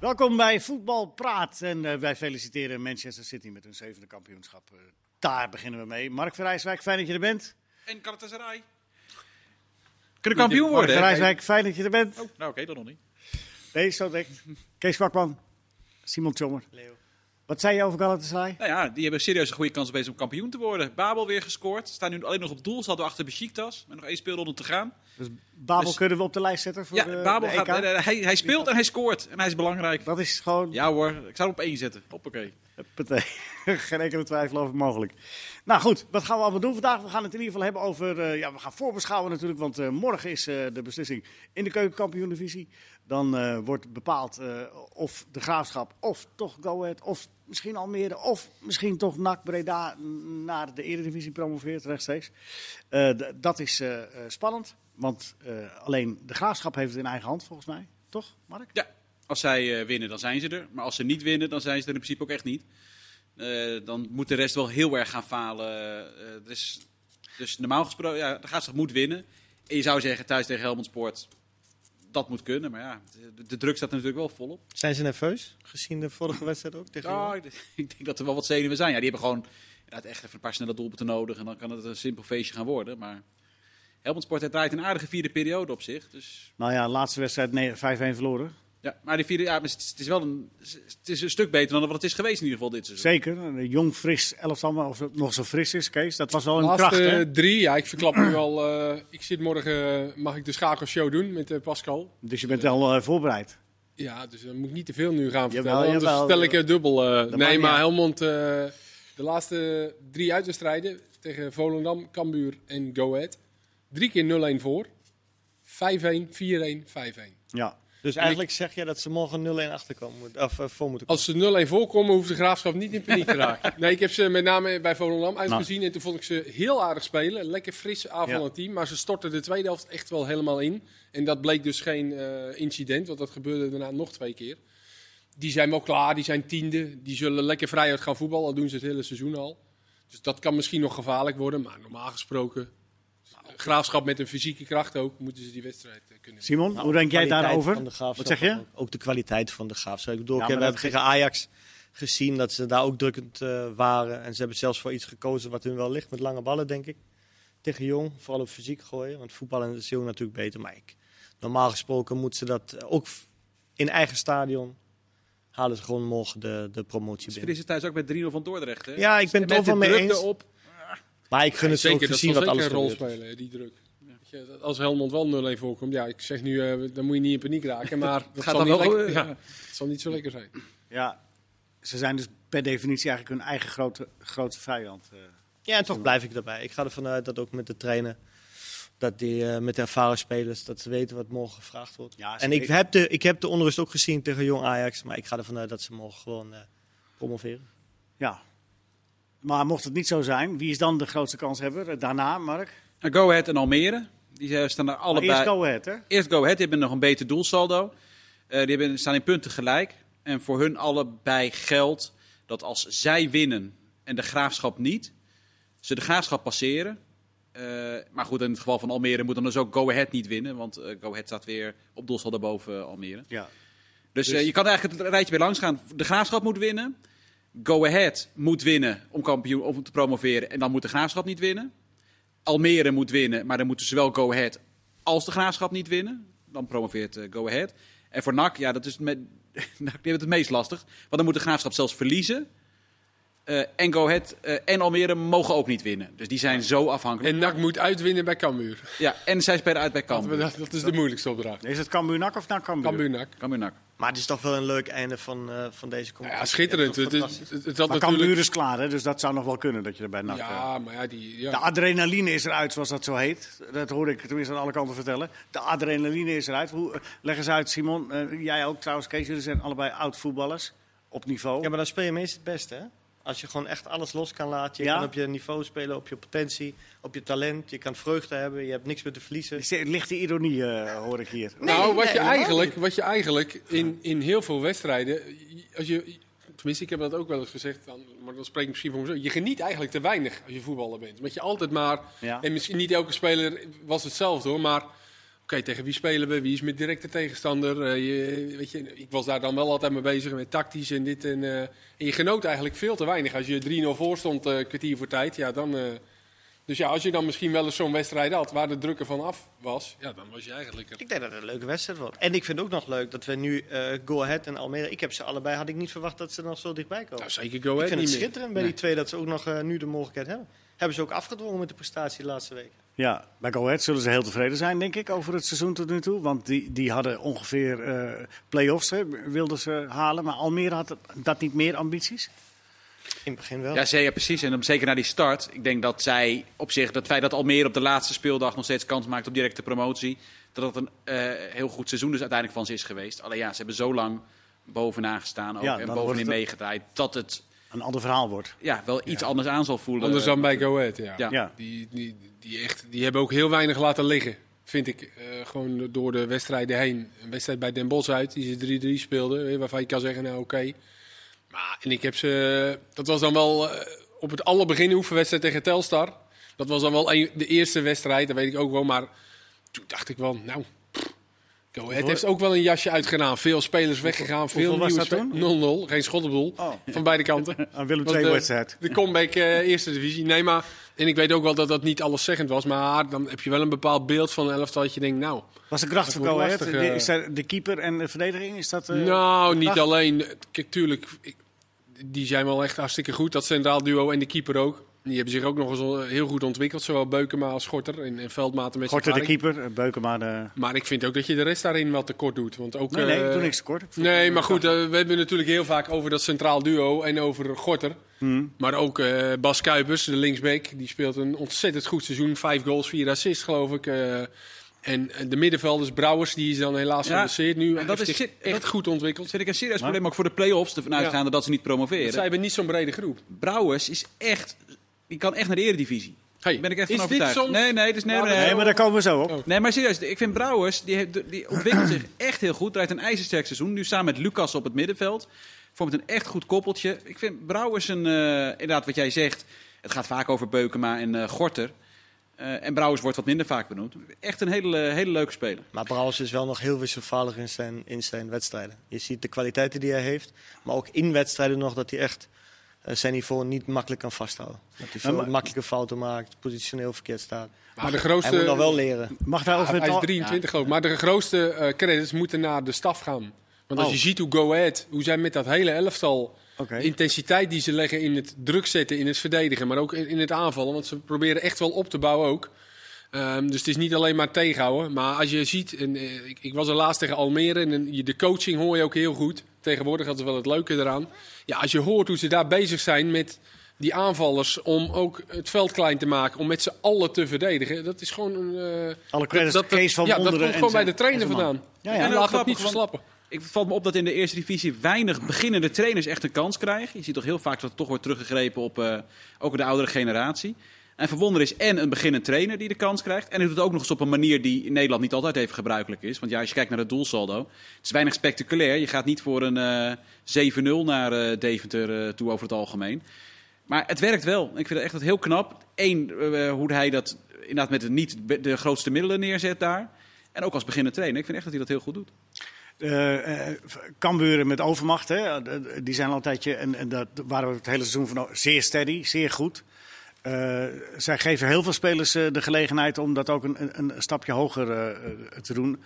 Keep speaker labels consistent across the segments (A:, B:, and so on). A: Welkom bij Voetbal Praat. En eh, wij feliciteren Manchester City met hun zevende kampioenschap. Eh, daar beginnen we mee. Mark Verrijswijk, fijn dat je er bent.
B: En Galatasaray. Kunnen kampioen
A: Mark
B: worden. hè?
A: Verrijswijk, fijn dat je er bent.
B: Oh, nou oké, dan nog niet.
A: Nee, zo denkt. Kees Kwakman, Simon Tjommer. Wat zei je over Galatasaray?
B: Nou ja, die hebben serieus een goede kans bezig om kampioen te worden. Babel weer gescoord. Staan nu alleen nog op doel. Zaten we achter Besiktas. Met nog één speelronde te gaan.
A: Dus Babel
B: Dus-
A: kunnen we op de lijst zetten voor
B: ja,
A: de,
B: Babel
A: de
B: gaat,
A: EK?
B: eh, eh, hij, hij speelt en hij scoort. En hij is belangrijk.
A: Dat is gewoon
B: Ja hoor, ik zou hem op één zetten. Hoppakee.
A: Partij. Geen enkele twijfel over mogelijk. Nou goed, wat gaan we allemaal doen vandaag? We gaan het in ieder geval hebben over. eh, ja, we gaan voorbeschouwen natuurlijk, want eh, morgen is eh, de beslissing in de keukenkampioen-divisie. Dan eh, wordt bepaald eh, of de graafschap, of toch Go Ahead, of misschien Almere, of misschien toch NAC Breda naar de Eredivisie promoveert rechtstreeks. Eh, d- dat is eh, eh, spannend, want eh, alleen de graafschap heeft het in eigen hand volgens mij. Toch, Mark?
B: Ja, als zij eh, winnen, dan zijn ze er. Maar als ze niet winnen, dan zijn ze er in principe ook echt niet. Eh, dan moet de rest wel heel erg gaan falen. Eh, dus, dus normaal gesproken, ja, de Graafschap moet winnen. En je zou zeggen, thuis tegen Helmond Sport, dat moet kunnen. Maar ja, de, de druk staat er natuurlijk wel volop.
C: Zijn ze nerveus? Gezien de vorige wedstrijd ook tegen
B: Ja,
C: Willem?
B: ik ik denk dat er wel wat zenuwen zijn. Ja, die hebben gewoon inderdaad echt even een paar snelle doelpunten nodig. En dan kan het een simpel feestje gaan worden. Maar Helmond Sport hij draait een aardige vierde periode op zich. Dus
A: Nou ja, laatste wedstrijd nee, 5-1 verloren.
B: Ja, maar die vierde, ja, maar het is- het is wel een, het is een stuk beter dan wat het is geweest in ieder geval dit seizoen.
A: Zeker, een jong, fris elftal, maar of het nog zo fris is, Kees. Dat was wel
D: De
A: een kracht,
D: laatste
A: hè?
D: drie, ja, ik verklap nu al. eh, ik zit morgen, eh, mag ik de schakelshow doen met eh, Pascal.
A: Dus je bent wel eh, voorbereid.
D: Ja, dus dan moet ik niet te veel nu gaan vertellen,
A: Jawel,
D: anders
A: jawel.
D: vertel ik het dubbel. eh.
A: maakt
D: nee,
A: niet
D: maar
A: uit.
D: Helmond, eh, de laatste drie uitwedstrijden tegen Volendam, Cambuur en Go Ahead. Drie keer 0-1 voor. 5-1, 4-1, 5-1.
A: Ja.
C: Dus eigenlijk zeg jij dat ze morgen 0-1 achterkomen moet- of eh, voor moeten komen.
D: Als ze 0-1 voorkomen, hoeft de graafschap niet in paniek te raken. Nee, ik heb ze met name bij Volendam uitgezien. En toen vond ik ze heel aardig spelen. Lekker fris aanvallend team. Maar ze stortten de tweede helft echt wel helemaal in. En dat bleek dus geen eh, incident, want dat gebeurde daarna nog twee keer. Die zijn wel klaar, die zijn tiende. Die zullen lekker vrijuit gaan voetballen, al doen ze het hele seizoen al. Dus dat kan misschien nog gevaarlijk worden. Maar normaal gesproken, graafschap met een fysieke kracht ook, moeten ze die wedstrijd eh, kunnen winnen.
A: Simon,
C: Nou,
A: hoe
C: de
A: denk jij
C: kwaliteit
A: daarover?
C: van de Graafschap
A: Wat zeg je?
C: Ook, ook de kwaliteit van de graafschap. Ik bedoel,
A: Ja,
C: ik
A: maar
C: heb- we
A: dat
C: hebben tegen Ajax gezien dat ze daar ook drukkend eh, waren. En ze hebben zelfs voor iets gekozen wat hun wel ligt, met lange ballen, denk ik. Tegen Jong, vooral op fysiek gooien. Want voetballen is Jong natuurlijk beter. Maar ik, normaal gesproken moeten ze dat eh, ook f- in eigen stadion halen ze gewoon morgen de, de promotie
B: Ze
C: binnen.
B: verliezen thuis ook bij 3-0 van Dordrecht. Hè?
C: Ja, ik ben het
B: Met de
C: overal mee
B: druk
C: eens.
B: erop.
C: Maar ik gun het ze ook
D: dat
C: gezien
D: zal
C: wat alles
D: zeker een rol
C: gebeurt.
D: spelen, hè, die druk. Weet je, dat- Als Helmond wel 0-1 voorkomt, ja, ik zeg nu, eh, dan moet je niet in paniek raken, maar dat,
B: gaat
D: zal,
B: dan
D: niet
B: wel
D: lekker-
B: gebeuren,
D: ja, het zal niet zo lekker zijn.
A: Ja. Ze zijn dus per definitie eigenlijk hun eigen grote, grote vijand. eh.
C: Ja, en toch blijf ik daarbij. Ik ga ervan uit dat ook met de trainer, dat die eh, met de ervaren spelers, dat ze weten wat morgen gevraagd wordt.
A: Ja, ze
C: en ik
A: weten-
C: heb, de, ik heb de onrust ook gezien tegen Jong Ajax, maar ik ga ervan uit dat ze morgen gewoon eh, promoveren.
A: Ja. Maar mocht het niet zo zijn, wie is dan de grootste kanshebber? Eh, Daarna, Mark? Maar
B: En Nou, Go Ahead en Almere, die eh, staan daar allebei.
A: Eerst Go Ahead, hè?
B: Eerst Go Ahead, die hebben nog een beter doelsaldo. Eh, die hebben, staan in punten gelijk. En voor hun allebei geldt dat als zij winnen en de graafschap niet, ze de graafschap passeren. Eh, maar goed, in het geval van Almere moet dan dus ook Go Ahead niet winnen, want eh, Go Ahead staat weer op doelsaldo boven eh, Almere.
A: Ja.
B: Dus, eh, je kan eigenlijk het rijtje weer langs gaan. De Graafschap moet winnen. Go Ahead moet winnen om kampioen om te promoveren. En dan moet de Graafschap niet winnen. Almere moet winnen, maar dan moeten zowel Go Ahead als de Graafschap niet winnen. Dan promoveert eh, Go Ahead. En voor NAC, ja, dat is het me- NAC die hebben het meest lastig. Want dan moet de Graafschap zelfs verliezen. Eh, en Go Ahead eh, en Almere mogen ook niet winnen. Dus die zijn zo afhankelijk.
D: En NAC moet uitwinnen bij Cambuur.
B: Ja, en zij spelen uit bij
D: Dat,
B: Kamp.
D: dat is de moeilijkste opdracht.
A: Is het Cambuur-Nak of naar Cambuur?
D: Cambuur-NAC.
B: Cambuur-NAC.
C: Maar het is toch wel een leuk einde van, eh, van deze
D: Nou Ja,
C: competitie.
D: schitterend.
C: Ja,
D: Het,
C: toch
D: het,
C: fantastisch.
D: het- het had
A: Maar
D: natuurlijk...
A: Cambuur is klaar, hè? Dus dat zou nog wel kunnen dat je er bij NAC... eh.
D: Ja, maar ja, die...
A: De
D: Ja.
A: adrenaline is eruit, zoals dat zo heet. Dat hoorde ik tenminste aan alle kanten vertellen. De adrenaline is eruit. Hoe, eh, leg eens uit, Simon. Eh, jij ook trouwens, Kees. Jullie zijn allebei oud-voetballers. Op niveau.
C: Ja, maar dan speel je meestal het beste, hè? Als je gewoon echt alles los kan laten. Je
A: Ja.
C: kan op je niveau spelen, op je potentie, op je talent. Je kan vreugde hebben, je hebt niks meer te verliezen.
A: Is er Lichte ironie eh, hoor ik hier.
D: nou, wat,
C: nee,
D: je
C: helemaal
D: eigenlijk, wat je eigenlijk in, in heel veel wedstrijden... Als je, tenminste, ik heb dat ook wel eens gezegd, dan, maar dan spreek ik misschien voor mezelf. Je geniet eigenlijk te weinig als je voetballer bent. Want je altijd maar...
A: Ja.
D: En misschien niet elke speler was hetzelfde hoor, maar tegen wie spelen we? Wie is met directe tegenstander? Eh, je, weet je, ik was daar dan wel altijd mee bezig met tactisch en dit. En, eh, en je genoot eigenlijk veel te weinig. Als je 3-0 voor stond, eh, kwartier voor tijd, ja, dan... eh, dus ja, als je dan misschien wel eens zo'n wedstrijd had waar de druk er van af was, ja, dan was je eigenlijk... er-
C: Ik denk dat het een leuke wedstrijd wordt. En ik vind het ook nog leuk dat we nu eh Go Ahead en Almere... Ik heb ze allebei, had ik niet verwacht dat ze nog zo dichtbij komen.
D: Nou, zeker go
C: ik
D: ahead
C: vind het
D: niet meer.
C: schitterend bij die twee dat ze ook nog eh, nu de mogelijkheid hebben. Hebben ze ook afgedwongen met de prestatie de laatste week.
A: Ja, bij Go Ahead zullen ze heel tevreden zijn, denk ik, over het seizoen tot nu toe. Want die, die hadden ongeveer eh play-offs, hè, wilden ze halen. Maar Almere had dat niet meer ambities.
C: In het begin wel.
B: Ja, ze- ja, precies. En dan zeker naar die start. Ik denk dat zij op zich, dat feit dat Almere op de laatste speeldag nog steeds kans maakt op directe promotie. Dat dat een eh, heel goed seizoen dus uiteindelijk van ze is geweest. Alleen ja, ze hebben zo lang bovenaan gestaan ook,
A: Ja, dan
B: en bovenin
A: wordt het-
B: meegedraaid. Dat het
A: Een ander verhaal wordt.
B: ja, wel iets anders aan zal voelen.
D: Anders dan bij Go Ahead,
B: Ja.
A: eh, Ja,
D: Die, die, die, echt, die hebben ook heel weinig laten liggen, vind ik. Eh, gewoon door de wedstrijden heen. Een wedstrijd bij Den Bosch uit, die ze 3-3 speelden. eh, Waarvan je kan zeggen, nou oké. Maar en ik heb ze... Dat was dan wel eh, op het allerbegin de oefenwedstrijd tegen Telstar. Dat was dan wel een- de eerste wedstrijd, dat weet ik ook wel. Maar toen dacht ik wel, nou... pff, Go Ahead heeft ook wel een jasje uitgedaan. Veel spelers weggegaan. Veel
A: hoeveel was
D: nieuwe
A: dat
D: spe- 0-0. Geen schot op doel.
A: Oh.
D: Van beide kanten.
A: een Willem
D: Want,
A: II
D: eh,
A: wedstrijd.
D: De comeback eh, eerste divisie. Nee, maar. En ik weet ook wel dat dat niet alleszeggend was. Maar dan heb je wel een bepaald beeld van een elftal. Dat je denkt, nou.
A: Was de kracht van
D: wordt
A: Go Ahead,
D: lastig,
A: de,
D: eh.
A: is daar de keeper en de verdediging, is dat... eh,
D: nou, niet
A: kracht?
D: alleen. Kijk, tuurlijk. ik- die zijn wel echt hartstikke goed. Dat centraal duo en de keeper ook. Die hebben zich ook nog eens eh, heel goed ontwikkeld. Zowel Beukema als Schorter. En, en Veldmaten met zijn
A: Gorter de
D: ervaring.
A: keeper, eh, Beukema de...
D: Maar ik vind ook dat je de rest daarin wel tekort doet. Want ook,
A: Nee, nee,
D: eh,
A: ik doe niks kort.
D: Nee, maar goed, eh, we hebben het natuurlijk heel vaak over dat centraal duo en over Gorter.
B: Hmm.
D: Maar ook eh, Bas Kuipers, de linksback, die speelt een ontzettend goed seizoen. Vijf goals, vier assists, geloof ik. eh. en eh, de middenvelders, Brouwers, die is dan helaas
B: Ja,
D: geblesseerd nu.
B: en dat
D: En dat is
B: is
D: zich
B: shit.
D: echt
B: Dat-
D: goed
B: Dat
D: ontwikkeld.
B: vind ik een serieus probleem, ook voor de play-offs, ervan uitgaande dat ze niet promoveren.
D: Zij hebben niet zo'n brede groep.
B: Brouwers is echt, die kan echt naar de eredivisie.
D: Hey,
B: Daar ben ik echt
D: is
B: van
D: dit
B: overtuigd.
D: soms-
B: Nee, nee, dus nee, nee,
D: Nou,
A: Nee, maar daar komen we zo op.
D: Oh.
B: Nee, maar serieus, ik vind Brouwers, die, heeft- die ontwikkelt zich echt heel goed. Draait een ijzersterk seizoen. Nu samen met Lucas op het middenveld. Vormt een echt goed koppeltje. Ik vind Brouwers een, eh, inderdaad wat jij zegt, het gaat vaak over Beukema en eh, Gorter. Eh, en Brouwers wordt wat minder vaak benoemd. Echt een hele, hele leuke speler.
C: Maar Brouwers is wel nog heel wisselvallig in zijn, in zijn wedstrijden. Je ziet de kwaliteiten die hij heeft. Maar ook in wedstrijden nog dat hij echt eh, zijn niveau niet makkelijk kan vasthouden. Dat hij veel
A: maar-
C: makkelijke fouten maakt, positioneel verkeerd staat.
D: Maar de
C: Hij moet nog
D: grootste,
C: wel leren.
A: Mag Oh, daarover
D: Hij
A: het
D: is
A: al-
D: 23 geloof ik. Maar de grootste eh, credits moeten naar de staf gaan. Want als
A: Oh.
D: je ziet hoe Go Ahead, hoe zij met dat hele elftal...
A: Oké.
D: De intensiteit die ze leggen in het druk zetten, in het verdedigen, maar ook in in het aanvallen. Want ze proberen echt wel op te bouwen ook. Ehm, dus het is niet alleen maar tegenhouden. Maar als je ziet, en, eh, ik, ik was er laatst tegen Almere en, en je- de coaching hoor je ook heel goed. Tegenwoordig, dat is wel het leuke eraan. Ja, als je hoort hoe ze daar bezig zijn met die aanvallers om ook het veld klein te maken. Om met z'n allen te verdedigen. Dat is gewoon een... eh,
A: Alle credits
D: dat, dat,
A: Kees van
D: ja, dat
A: Wonderen
D: komt
A: en
D: gewoon
A: zijn-
D: bij de trainer
A: en zijn man.
D: vandaan.
A: Ja, Nou, ja.
D: En
B: En
D: laat
B: ook
D: dat
B: grappig,
D: niet
B: want-
D: verslappen.
B: Ik valt me op dat in de eerste divisie weinig beginnende trainers echt een kans krijgen. Je ziet toch heel vaak dat het toch wordt teruggegrepen op eh, ook de oudere generatie. En Verwonder is en een beginnend trainer die de kans krijgt. En hij doet het ook nog eens op een manier die in Nederland niet altijd even gebruikelijk is. Want ja, als je kijkt naar het doelsaldo, het is weinig spectaculair. Je gaat niet voor een eh, 7-0 naar eh, Deventer eh, toe over het algemeen. Maar het werkt wel. Ik vind het echt heel knap. Eén, eh, hoe hij dat inderdaad met de niet be- de grootste middelen neerzet daar. En ook als beginnend trainer. Ik vind echt dat hij dat heel goed doet.
A: eh eh, Kamburen met overmacht, hè, eh, die zijn al een tijdje, en, en dat waren we het hele seizoen van zeer steady, zeer goed. Eh, zij geven heel veel spelers eh, de gelegenheid om dat ook een, een, een stapje hoger eh, eh, te doen.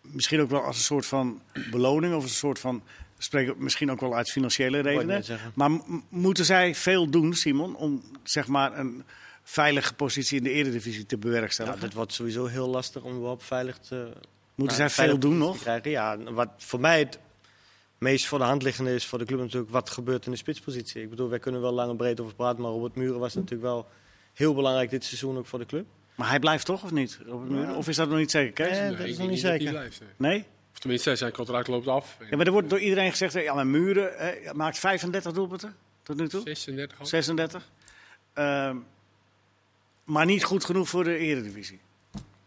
A: Misschien ook wel als een soort van beloning of een soort van, spreken misschien ook wel uit financiële redenen.
C: net zeggen.
A: Maar m- m- moeten zij veel doen, Simon, om zeg maar een veilige positie in de eredivisie te bewerkstelligen?
C: Nou, dat wordt sowieso heel lastig om überhaupt veilig te,
A: moeten
C: Nou,
A: zij veel
C: veilig
A: doen
C: te
A: nog?
C: Krijgen. Ja, wat voor mij het meest voor de hand liggende is voor de club natuurlijk wat gebeurt in de spitspositie. Ik bedoel, wij kunnen wel lang en breed over praten, maar Robert Muren was natuurlijk wel heel belangrijk dit seizoen ook voor de club.
A: Maar hij blijft toch of niet? Robert Muren?
C: Ja.
A: Of is dat nog niet zeker, Kees?
C: Eh,
D: Nee,
C: dat is
D: ik
C: nog
D: denk
C: niet
D: dat die
C: zeker.
D: blijft, nee.
A: Nee?
D: Of tenminste, zijn contract loopt af.
A: Ja, maar er wordt door iedereen gezegd, ja, maar Muren eh, maakt 35 doelpunten tot nu toe.
D: 36 al.
A: 36. Ehm, maar niet goed genoeg voor de eredivisie.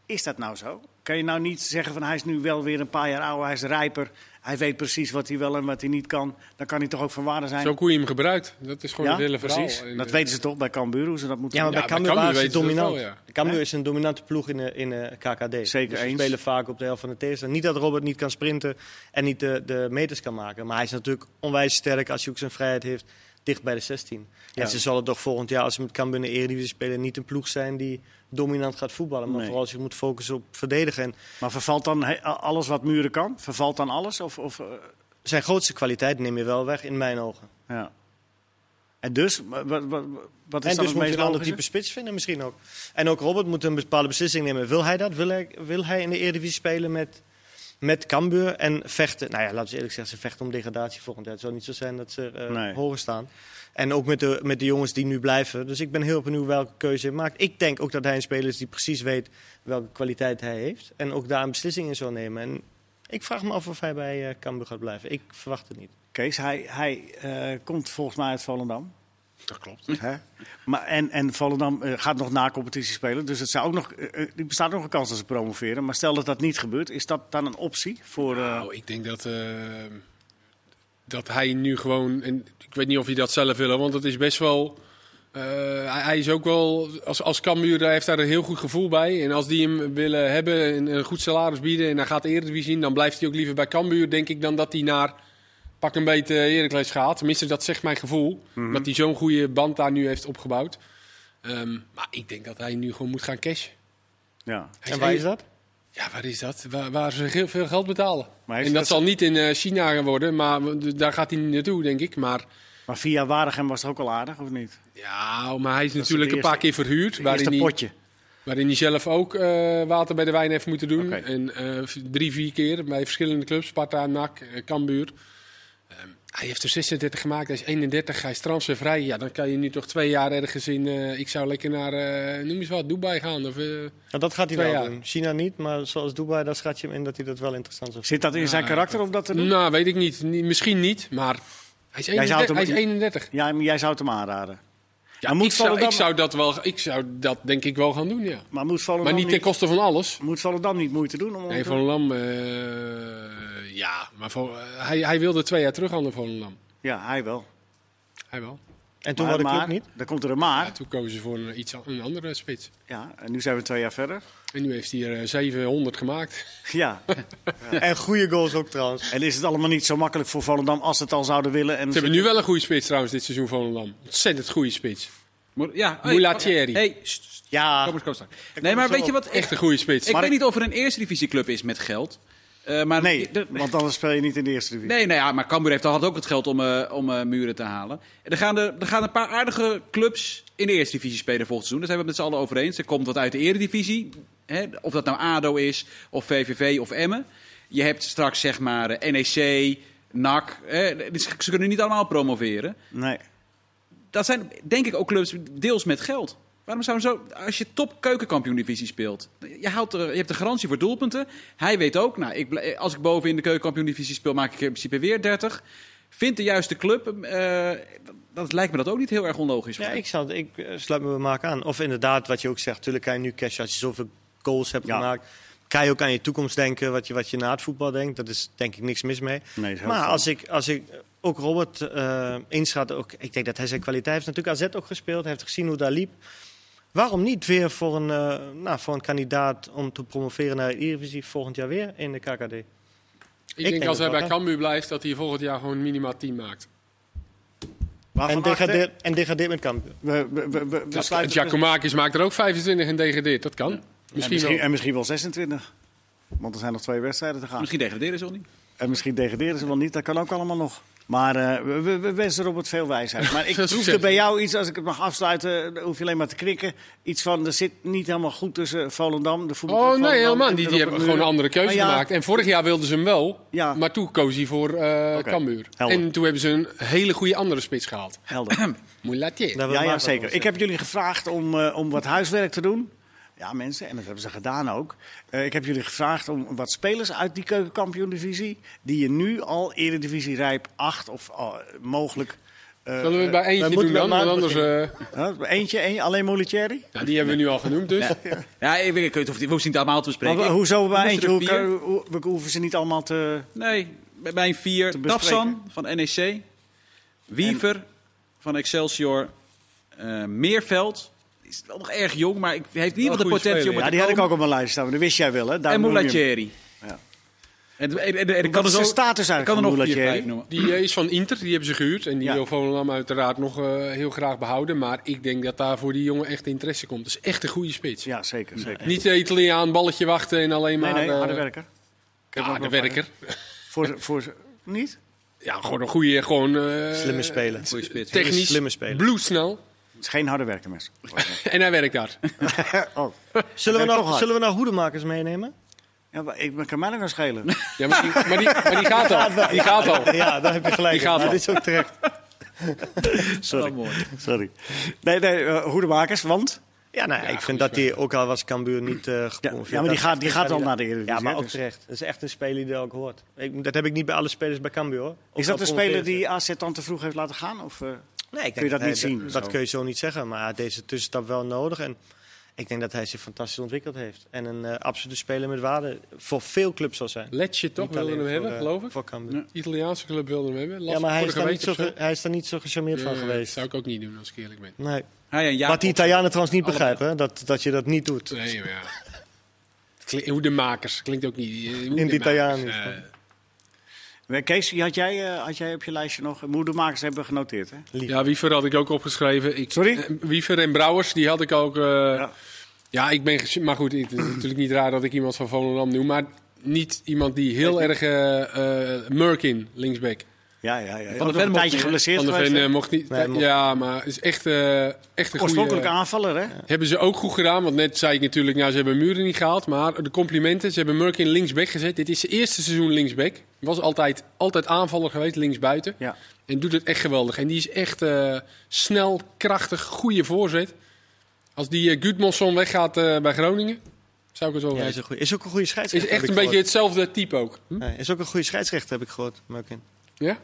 A: Is dat nou zo? Kan je nou niet zeggen van hij is nu wel weer een paar jaar ouder, hij is rijper. Hij weet precies wat hij wel en wat hij niet kan. Dan kan hij toch ook van waarde zijn.
D: Zo hoe je hem gebruikt. Dat is gewoon
A: ja,
D: het hele verhaal.
A: precies.
D: En,
A: Dat
D: eh,
A: weten ze toch bij Cambuur hoe ze dat moeten
C: Ja, maar
A: doen.
C: bij
D: bij
C: Cambuur
D: Cambuur
C: waren ze
D: weten ze dat
C: dominant.
D: wel, ja.
C: Cambuur is een dominante ploeg in, eh, in eh, KKD.
A: Zeker
C: dus ze
A: eens.
C: spelen vaak op de helft van de tegenstander. Niet dat Robert niet kan sprinten en niet de, de meters kan maken. Maar hij is natuurlijk onwijs sterk als hij ook zijn vrijheid heeft dicht bij de 16.
A: Ja.
C: En ze zullen toch volgend jaar, als ze met Cambuur in de Eredivisie spelen, niet een ploeg zijn die dominant gaat voetballen. Maar
A: Nee.
C: vooral zich moet focussen op verdedigen. En
A: Maar vervalt dan he- a- alles wat Muren kan? Vervalt dan alles? Of, of, eh,
C: zijn grootste kwaliteit neem je wel weg, in mijn ogen.
A: ja. En dus, wa- wa- wa- wat is dan
C: En
A: het
C: dus moet je
A: meest
C: een ander type
A: logische?
C: spits vinden misschien ook. En ook Robert moet een bepaalde beslissing nemen. Wil hij dat? Wil hij, wil hij in de Eredivisie spelen met, met Cambuur en vechten? Nou ja, laten we eerlijk zeggen, ze vechten om degradatie volgend jaar. Het zou niet zo zijn dat ze eh
A: Nee.
C: horen staan. En ook met de, met de jongens die nu blijven. Dus ik ben heel benieuwd welke keuze hij maakt. Ik denk ook dat hij een speler is die precies weet welke kwaliteit hij heeft. En ook daar een beslissing in zal nemen. En ik vraag me af of hij bij eh Cambuur gaat blijven. Ik verwacht het niet.
A: Kees, hij, hij eh, komt volgens mij uit Volendam.
D: Dat klopt.
A: Hè? Maar, en, en Volendam eh, gaat nog na competitie spelen. Dus het zou ook nog, eh, eh, er bestaat nog een kans dat ze promoveren. Maar stel dat dat niet gebeurt, is dat dan een optie voor... eh,
D: Nou, ik denk dat, eh, dat hij nu gewoon. En ik weet niet of hij dat zelf wil, hoor, want het is best wel. eh, hij, hij is ook wel. Als, als Cambuur hij heeft daar een heel goed gevoel bij. En als die hem willen hebben en een goed salaris bieden. en hij gaat de Eredivisie zien. dan blijft hij ook liever bij Cambuur, denk ik, dan dat hij naar. pak een beetje eh, Heracles gaat. Tenminste, dat zegt mijn gevoel.
A: Mhm.
D: Dat hij zo'n goede band daar nu heeft opgebouwd. Ehm, maar ik denk dat hij nu gewoon moet gaan cashen.
A: ja.
D: Hij
C: en waar is dat?
D: ja, waar is dat? Waar, waar ze heel veel geld betalen.
A: Maar heeft
D: en dat,
A: dat-
D: zal niet in eh, China gaan worden, maar w- d- daar gaat hij niet naartoe, denk ik. Maar,
A: Maar via Waregem was het ook al aardig, of niet?
D: ja, maar hij is
A: is
D: natuurlijk
A: het
D: een paar keer verhuurd.
A: Het
D: Waarin
A: eerste
D: hij,
A: potje.
D: waarin hij zelf ook eh, water bij de wijn heeft moeten doen.
A: Oké.
D: En eh, v- drie, vier keer bij verschillende clubs. Sparta, NAC, eh, Cambuur. Ehm, hij heeft er 36 gemaakt, hij is 31, hij is transfervrij. Ja, dan kan je nu toch twee jaar ergens in... eh, ik zou lekker naar, eh, noem eens wat, Dubai gaan. Of, eh,
C: Nou, dat gaat hij
D: Twee
C: wel
D: jaar.
C: doen. China niet, maar zoals Dubai, daar schat je hem in dat hij dat wel interessant zou vinden.
A: Zit dat in zijn
D: Ja,
A: karakter om dat te doen?
D: nou, weet ik niet. Ni- Misschien niet, maar hij is
A: Jij zou het
D: 31.
A: hem-
D: Hij is 31.
A: Ja, maar jij zou het hem aanraden.
D: Ja,
A: Maar moet
D: ik, zou,
A: Volendam-
D: ik zou dat wel, ik zou dat denk ik wel gaan doen, ja.
A: Maar moet Volendam,
D: Maar niet ten
A: niet,
D: koste van alles.
A: moet Volendam niet moeite doen? Om om
D: Nee,
A: te-
D: Volendam, eh ja, maar Vol- eh, hij, hij wilde twee jaar terug aan de Volendam.
A: Ja, hij wel.
D: Hij wel.
C: En toen
A: maar,
C: had ik
A: maar,
C: ook niet.
A: Dan komt er een maar.
D: Ja, toen kozen ze voor een, iets, an- een andere spits.
A: Ja, en nu zijn we twee jaar verder.
D: En nu heeft hij er eh, 700 gemaakt.
A: Ja.
C: En goede goals ook trouwens.
A: en is het allemaal niet zo makkelijk voor Volendam als ze het al zouden willen? En
D: Ze hebben nu wel een goede spits trouwens dit seizoen Volendam. Ontzettend goede spits.
B: Mo- Ja, hey,
D: Moulatieri.
B: Hey, sst, sst,
C: Ja,
B: kom eens, kom eens. Nee, maar
C: zo
B: weet
C: op.
B: je wat?
D: Echt
B: Ik,
D: een goede spits.
B: ik
A: Maar
B: weet
A: ik-
B: niet of er een eerste divisieclub is met geld. Eh, maar
A: Nee,
B: de-
A: want anders speel je niet in de eerste divisie.
B: Nee, nou ja, maar Cambuur heeft, had ook het geld om, eh, om eh, muren te halen. En Er gaan, er, er gaan een paar aardige clubs in de Eerste Divisie spelen volgend seizoen. Daar zijn we het met z'n allen over eens. Er komt wat uit de Eredivisie. Hè? Of dat nou ADO is, of VVV of Emmen. Je hebt straks zeg maar eh, NEC, NAC. Hè? Dus Ze kunnen niet allemaal promoveren.
A: Nee.
B: Dat zijn denk ik ook clubs deels met geld. Waarom zou zo, als je top keukenkampioen-divisie speelt, je, haalt er, je hebt de garantie voor doelpunten. Hij weet ook, nou, ik, blij- als ik boven in de keukenkampioen-divisie speel, maak ik in principe weer 30. Vindt de juiste club, eh, dat, dat lijkt me dat ook niet heel erg onlogisch.
C: ja ik, zou, ik eh, sluit me bij Mark aan. Of inderdaad, wat je ook zegt, tuurlijk kan je nu cash als je zoveel goals hebt
A: Ja.
C: gemaakt. Kan je ook aan je toekomst denken, wat je, wat je na het voetbal denkt. Dat is denk ik niks mis mee.
A: Nee, is heel
C: maar
A: veel.
C: als ik, als ik eh, ook Robert eh, inschat, ook, ik denk dat hij zijn kwaliteit heeft. Natuurlijk AZ ook gespeeld, hij heeft gezien hoe daar liep. Waarom niet weer voor een, eh, nou, voor een kandidaat om te promoveren naar de Eredivisie volgend jaar weer in de KKD?
D: Ik, denk,
C: denk dat
D: als
C: wel,
D: hij bij
C: hè.
D: Cambuur blijft, dat hij volgend jaar gewoon minimaal 10 maakt.
A: Waarvan
C: En
A: achter-
C: degradeert, en degradeert met Cambuur.
A: We, we, we, we
D: Dat,
A: sluiten-
D: Giacomakis maakt er ook 25 en degradeert. Dat kan.
A: en,
D: Misschien,
A: misschien,
D: wel.
A: en misschien wel 26. Want er zijn nog twee wedstrijden te gaan.
B: Misschien degraderen ze al niet.
A: En misschien degraderen ze wel niet. Dat kan ook allemaal nog. Maar eh, we, we- we wensen Robert veel wijsheid. Maar ik
D: Veel
A: proefde
D: succes.
A: bij jou iets, als ik het mag afsluiten, dan hoef je alleen maar te krikken. Iets van, er zit niet helemaal goed tussen Volendam, de voetbal.
D: Oh nee, helemaal niet. Die, die hebben gewoon een andere keuze
A: Maar Nou ja.
D: gemaakt. En vorig jaar wilden ze hem wel,
A: Ja.
D: maar toen koos hij voor eh
A: Oké,
D: Cambuur.
A: helder.
D: En toen hebben ze een hele goede andere spits gehaald.
A: Helder.
D: Moulatier.
C: Daar wil
A: Ja,
C: Mark
A: ja,
C: wat over
A: zeker.
C: zeggen.
A: Ik heb jullie gevraagd om, eh, om wat huiswerk te doen. Ja, mensen, en dat hebben ze gedaan ook. Eh, ik heb jullie gevraagd om wat spelers uit die keukenkampioen-divisie... die je nu al eredivisie rijp acht of ah, oh, mogelijk eh,
D: Zullen we het bij
A: eh,
D: eentje
C: moeten met
D: doen dan? Want
C: maand
D: anders, eh,
A: huh? Eentje, één, alleen Molitieri?
D: ja, die hebben we nu al genoemd dus.
B: Ja, ik weet ik weet niet of die, we hoeven het niet allemaal te
A: Maar
B: bespreken.
A: wa- hoezo bij
B: er
A: eentje? Hoe,
B: vier.
A: kan- hoe- we hoeven ze niet allemaal te...
B: Nee, bij mijn
A: Te
B: vier.
A: bespreken.
B: Tafsan van NEC. Wiever van Excelsior. eh, Meerveld. Is wel nog erg jong, maar ik, hij heeft in ieder geval de
D: Wel een goede
B: potentie om
D: speler,
A: Ja,
B: het
A: die had
B: te
A: ik ook
B: komen.
A: op mijn lijst staan. maar Dat wist jij wel, hè?
B: En
A: Daarom noem je hem.
B: Moulatieri.
A: Ja.
B: En, en, en, en ik kan
A: Wat
B: er
A: is
B: zo...
A: zijn status
B: Ik kan er
A: eigenlijk
B: nog
A: van
B: vier, vijf
A: Moulatieri?
B: noemen.
D: Die eh, is van Inter, die hebben ze gehuurd. En die
A: Ja.
D: wil Volendam uiteraard nog eh, heel graag behouden. Maar ik denk dat daar voor die jongen echt interesse komt. Dat is echt een goede spits.
A: Ja, zeker. zeker.
D: Niet de Italiaan, balletje wachten en alleen
A: Nee,
D: maar...
A: nee,
D: eh,
A: harde werker. Ik heb
D: ja,
A: ook
D: de
A: nog-
D: werker.
A: Voor, voor, niet?
D: Ja, gewoon een goede... Gewoon, eh,
C: Slimme speler.
B: Goeie spits.
D: Technisch,
C: Slimme speler.
D: bloedsnel.
A: Het is geen harde werker, mensen.
D: En hij werkt daar.
A: oh.
C: Zullen we,
A: werkt toch
C: nou,
A: hard.
C: zullen we nou hoedemakers meenemen?
A: Ja, maar ik maar kan mij nog aan schelen.
D: Ja, maar, die, maar, die, maar die gaat al. Die gaat al.
C: Ja, daar heb je gelijk. in.
D: Die gaat
C: Maar
D: al.
C: dit is ook terecht.
B: Dat is
A: Sorry.
B: wel mooi.
A: Sorry. Nee, nee, eh, hoedemakers, want...
C: Ja, nou, ja, ik vind dat die, ook al was Cambuur niet eh gepromoveerd.
A: ja, maar die
C: Dat-
A: gaat- die
C: dat-
A: gaat al naar de Eredivisie,
C: Ja, maar
A: hè,
C: ook
A: dus.
C: terecht. Dat is echt een speler die er ook hoort. Ik, dat heb ik niet bij alle spelers bij Cambuur. hoor. Ook
A: Is dat
C: al
A: een speler
C: promoveert
A: die AZ dan te vroeg heeft laten gaan? Of, eh,
C: ze. Nee, ik
A: kun je dat
C: nee,
A: niet zien,
C: Dat
A: zo?
C: kun je zo niet zeggen. Maar hij had deze tussenstap wel nodig. En ik denk dat hij zich fantastisch ontwikkeld heeft. En een eh, absolute speler met waarde voor veel clubs zal zijn.
D: Letje toch
C: Niet alleen
D: wilde hem
C: voor,
D: hebben,
C: eh,
D: geloof ik.
C: Voor Cambuur.
B: Ja.
D: Italiaanse club wilde hem hebben. Las
C: Ja, maar hij is,
D: vorige
C: daar
D: week
C: niet zo
D: of zo.
C: ge- hij is daar niet zo gecharmeerd van
D: Eh,
C: geweest.
D: zou ik ook niet doen als ik eerlijk ben.
C: Nee.
B: Hij en
C: Wat die
B: Jacob.
C: Italianen trouwens niet
B: Allebei.
C: begrijpen, hè, dat, dat je dat niet doet.
D: Nee, maar ja. Het klinkt- Hoe de makers klinkt ook niet. eh, hoe
C: In
D: de
C: het Italiaans.
D: makers, eh,
A: maar Kees, die had jij, eh, had jij op je lijstje nog... Moedermakers hebben we genoteerd, hè?
D: ja, Wiever had ik ook opgeschreven. Ik,
A: Sorry?
D: eh, Wiever en Brouwers, die had ik ook. eh,
A: Ja.
D: ja. ik ben. ges- Maar goed, het is natuurlijk niet raar dat ik iemand van Volendam noem. Maar niet iemand die heel erg. eh, eh, Merkin, linksback.
A: Ja, ja, ja.
B: Van
A: Ook
B: de
A: nog
B: Ven
A: een tijdje
B: mocht-
A: geblesseerd
D: Van de
A: geweest.
D: Ven eh,
A: hè?
D: mocht niet.
C: Nee, mocht-
D: Ja, maar is echt, eh, echt een
A: Oorspronkelijke
D: goede.
A: aanvaller, hè?
D: Hebben ze ook goed gedaan, want net zei ik natuurlijk, nou, ze hebben Muren niet gehaald. Maar de complimenten, ze hebben Merkin linksback gezet. Dit is zijn eerste seizoen linksback. Was altijd, altijd aanvaller geweest, linksbuiten.
A: Ja.
D: En doet het echt geweldig. En die is echt eh, snel, krachtig, goede voorzet. Als die eh, Gudmundsson weggaat eh, bij Groningen, zou ik het wel
C: Ja, is,
D: weten.
C: een goeie- is ook een goede
D: Is
C: scheidsrechter.
D: echt
C: heb
D: een
C: ik
D: beetje
C: gehoord.
D: hetzelfde type ook. Hm?
C: Ja, is ook een goede scheidsrechter, heb ik gehoord, Merkin.
D: Ja?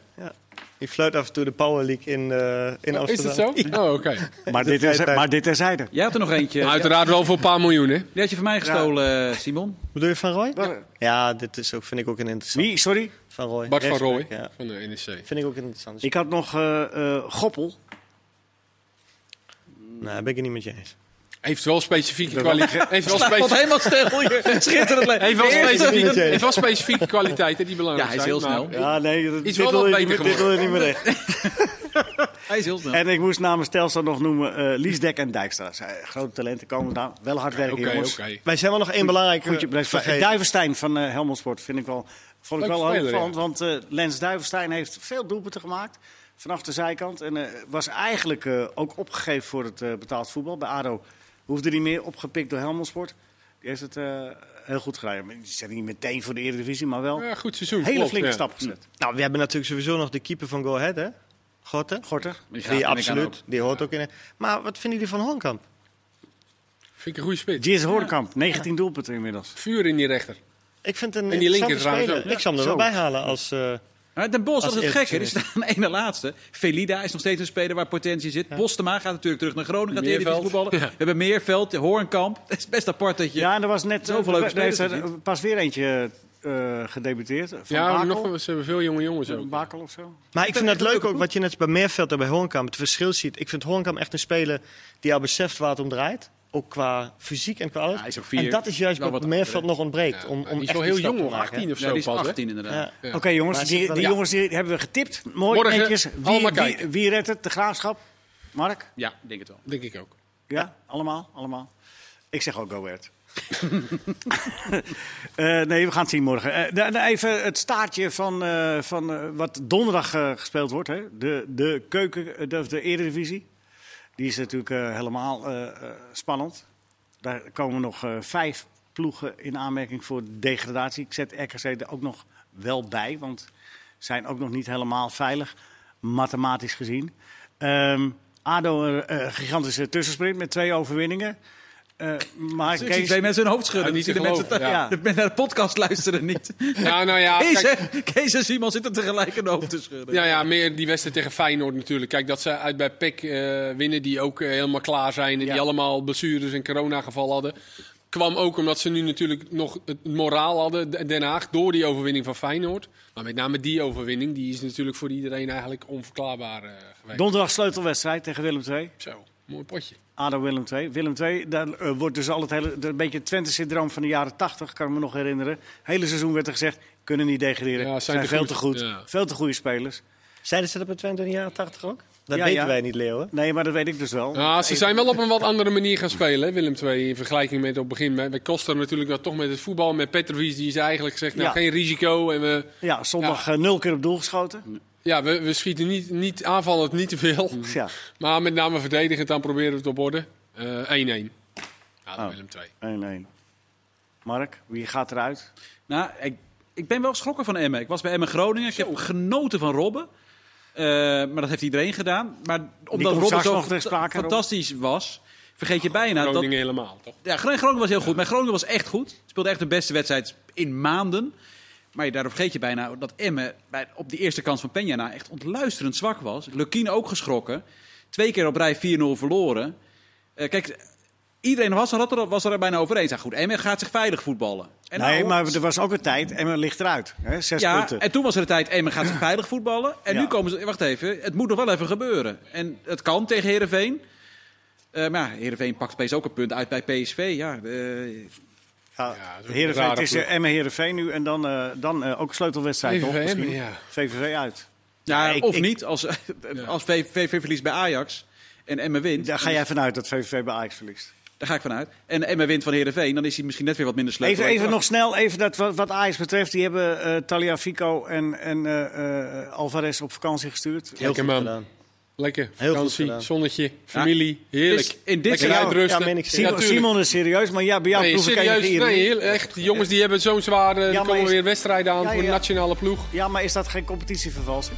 C: Die fluit af en toe de Power League in, eh, in Amsterdam.
D: Is dat zo? Oh, oké.
A: Maar dit,
C: vrije
A: is,
C: tijd.
A: maar dit terzijde.
B: Jij had er nog eentje.
D: Nou, Uiteraard wel voor een paar miljoen, hè?
B: Die had je van mij gestolen, eh, Simon.
C: Bedoel je Van Roy?
A: Ja.
C: Ja, dit is ook, vind ik ook een interessant.
A: Wie, sorry?
C: Van Roy.
D: Bart van Rooij
C: Rechtsback, Ja.
D: van de E NEC.
C: Vind ik ook een interessant.
A: Ik had nog eh, eh, Goppel.
C: Nou, ben ik het niet met je eens.
D: Heeft wel specifieke kwaliteit. Heeft wel
B: Staat
D: specifieke
B: helemaal stil hier. Schitterend. le-
D: Hij heeft wel,
B: De eerste-
C: die-
D: specifieke,
C: die-
D: heeft wel specifieke kwaliteiten die belangrijk
B: Ja, hij is
D: zijn.
B: heel
D: maar-
B: snel.
A: Ja, nee, dat,
D: Iets
A: dit
D: wel
A: wil je
D: wat
A: niet meer-
D: beter
A: dit wil je niet meer recht.
B: Hij is heel snel.
A: En ik moest namens Telstra nog noemen eh Liesdek en Dijkstra. Zij, grote talenten komen daar. Wel hard werken,
D: Oké,
A: jongens.
D: oké.
C: Wij zijn wel nog één belangrijke...
A: Goed, je blijft vergeten.
C: vergeten.
A: Duivenstein van eh Helmond Sport vind ik wel, vond ik
D: Leuk
A: wel
D: speler,
A: hoopvallend. Want eh, Lens Duivenstein heeft veel doelpunten gemaakt vanaf de zijkant. En eh, was eigenlijk eh, ook opgegeven voor het eh, betaald voetbal. Bij ADO hoefde hij meer opgepikt door Helmond Sport. Die heeft het eh, heel goed gedaan. Die zijn niet meteen voor de Eredivisie, maar wel
D: Ja, goed seizoen.
A: een hele
D: klopt,
A: flinke
D: ja. Hm.
A: stap gezet.
C: Nou, we hebben natuurlijk sowieso nog de keeper van Go Ahead, hè? Gorten.
A: Gorter.
B: Die gaat,
C: Die
B: denk ik aan ook.
C: absoluut, die hoort ook in. Maar wat vinden jullie van Honkamp?
D: Vind ik een goede spits.
A: Jez Hoornkamp, 19 doelpunten inmiddels.
D: Vuur in die rechter.
C: Ik vind het een
D: En die linker
C: interessante
D: trouwens
C: speler.
D: ook.
C: Ik zal hem er
A: Zo.
C: wel bij halen als... eh,
B: Maar Den Bos, dat
C: Als
B: is het gekke. Die
C: eerste.
B: staat aan de ene laatste. Velida is nog steeds een speler waar potentie zit. Postema gaat natuurlijk terug naar Groningen. Gaat de Eredivisie
D: Meerveld.
B: voetballen. We hebben Meerveld, Hoornkamp. Het is best apart dat je...
A: Ja, en er was net
B: Zoveel
A: eh,
B: leuke
A: er heeft
B: spelers
A: er pas weer eentje eh, gedebuteerd. Van
D: ja,
A: Bakel.
D: nog, ze hebben veel jonge jongens ook.
A: Bakel of zo.
C: Maar ik
B: vind het
C: vind het
B: echt
C: leuk
B: een
C: ook wat je net bij Meerveld en bij Hoornkamp het verschil ziet. Ik vind Hoornkamp echt een speler die al beseft waar het om draait. Ook qua fysiek en qua alles.
B: hij is ook vier.
C: en dat is juist
B: Wel
C: wat
B: wat
C: Meerveld nog ontbreekt.
D: Ja,
C: om,
D: maar
C: om
D: die is
C: echt
D: wel
C: die
D: heel
C: stap
D: jong,
C: te
D: hoor.
C: maken, hè?
D: 18 of zo.
B: Ja, die is
D: pas, hè?
B: 18 inderdaad.
C: Ja.
A: Oké jongens,
C: Maar
A: die,
C: zit wel-
A: die
C: Ja.
A: jongens die hebben we getipt. Mooi
D: Morgen
A: netjes. Wie, wie,
D: allemaal kijken.
A: wie redt het? De Graafschap? Mark?
B: Ja, ik denk het wel.
D: Denk ik ook.
A: Ja, allemaal, allemaal. Ik zeg ook go Ahead. Eh, nee, we gaan het zien morgen. Eh, da- da- even het staartje van, eh, van eh, wat donderdag eh, gespeeld wordt. Hè? De, de keuken, eh, de, de eredivisie. Die is natuurlijk eh, helemaal eh, eh, spannend. Daar komen nog eh, vijf ploegen in aanmerking voor degradatie. Ik zet RKC er ook nog wel bij, want zijn ook nog niet helemaal veilig, mathematisch gezien. Ehm ADO, een eh, gigantische tussensprint met twee overwinningen. Eh, Eh, maar
B: Ik zie
A: Kees,
B: twee mensen hun hoofd schudden.
D: Ja, niet
B: Ik zie
D: te
B: de mensen
D: geloven,
A: ja.
B: te- de mensen naar de podcast luisteren niet.
D: Ja, nou ja,
B: Kees,
D: kijk,
B: hè? Kees en Simon zitten tegelijk hun hoofd te schudden.
D: ja, ja, meer die wedstrijd tegen Feyenoord natuurlijk. Kijk, dat ze uit bij PEC eh, winnen, die ook eh, helemaal klaar zijn. En
A: Ja.
D: die allemaal blessures en coronagevallen hadden. Kwam ook omdat ze nu natuurlijk nog het moraal hadden, D- Den Haag, door die overwinning van Feyenoord. Maar met name die overwinning, die is natuurlijk voor iedereen eigenlijk onverklaarbaar eh, geweest.
A: donderdag sleutelwedstrijd tegen Willem II.
D: Zo, mooi potje.
A: ADO Willem II. Willem II, daar eh, wordt dus al het hele, dat een beetje het Twente-syndroom van de jaren 80, kan ik me nog herinneren. Hele seizoen werd er gezegd, kunnen niet degraderen,
D: Ja, zijn
A: zijn,
D: te
A: veel
D: goed.
A: te goed.
D: Ja.
A: Veel te goede spelers.
C: Zeiden ze dat bij Twente in de jaren 80 ook? Dat
A: Ja,
C: weten
A: ja.
C: wij niet, Leo. hè?
A: Nee, maar dat weet ik dus wel.
D: Ja, Ah, ze zijn wel op een wat andere manier gaan spelen, hè, Willem II. In vergelijking met op het begin. Bij bij Koster natuurlijk wel toch met het voetbal. Met Petrovic, die is eigenlijk gezegd, nou
A: Ja.
D: geen risico. En we,
A: Ja, zondag eh, nul keer op doel geschoten.
D: ja, we, we schieten niet, niet aanvallend niet te veel.
A: Ja,
D: Maar met name verdedigend, dan proberen we het op orde. Eh, 1-1. Ja, dan
A: Oh.
D: Willem II.
A: 1-1. Mark, wie gaat eruit?
B: Nou, ik, ik ben wel geschrokken van Emmen. Ik was bij Emmen Groningen. Ik heb genoten van Robben. Eh, maar dat heeft iedereen gedaan. Maar omdat
A: komt
B: Robben
A: straks
B: zo
A: nog ter sprake, Rob.
B: fantastisch was, vergeet je bijna Nou, dat
D: Groningen helemaal, toch?
B: Ja, Groningen Groningen was heel goed. Maar Groningen was echt goed. Speelde echt de beste wedstrijd in maanden. Maar je- daardoor vergeet je bijna dat Emmen bij, op die eerste kans van Peña na echt ontluisterend zwak was. Lukien ook geschrokken. Twee keer op rij 4-0 verloren. Eh, kijk, iedereen was er, had er- was er bijna over eens. Ja, goed, Emmen gaat zich veilig voetballen. En
A: nee,
B: nou,
A: maar er was ook een tijd, Emmen ligt eruit. Hè? Zes
B: ja,
A: punten.
B: en toen was er de tijd, Emmen gaat zich veilig voetballen. En
A: Ja.
B: nu komen ze, wacht even, het moet nog wel even gebeuren. En het kan tegen Herenveen. maar ja, Herenveen pakt opeens ook een punt uit bij PSV. Ja, eh,
A: Ja,
D: Ja, dat is ook een
A: Heerenveen, het
D: rare
A: is
D: ploeg.
A: eh, Emmen Heerenveen nu en dan, eh, dan eh, ook sleutelwedstrijd toch?
D: VVV,
A: misschien?
D: ja.
A: VVV uit.
B: Ja,
A: Ja, ik-
B: Eh, of
A: ik-
B: niet. Als, als VVV verliest bij Ajax en Emmen wint,
A: Daar ga jij vanuit dat VVV bij Ajax verliest.
B: daar ga ik vanuit. En Emmen wint van Heerenveen, dan is hij misschien net weer wat minder slecht.
A: Even, even nog snel, even dat, wat, wat Ajax betreft. Die hebben eh Talia Fico en, en eh, eh, Alvarez op vakantie gestuurd.
C: Heel
D: Lekker,
C: goed
D: man.
C: gedaan.
D: Lekker.
C: Heel
D: Vakantie,
C: goed gedaan.
D: zonnetje, familie. Heerlijk.
B: Dus in dit
D: Lekker
B: jaar-
D: uitrusten.
C: Ja, meen ik
A: Simon,
D: tuurlijk.
A: Simon is serieus, maar ja, bij jou
D: Nee,
A: proef ik
D: serieus,
A: enige ironie.
D: nee, heel, echt. Die jongens die hebben zo'n zwaar. eh, er
A: maar
D: komen
A: is-
D: weer wedstrijden aan
A: Ja,
D: voor de
A: ja.
D: nationale ploeg.
A: Ja, maar is dat geen competitievervalsing?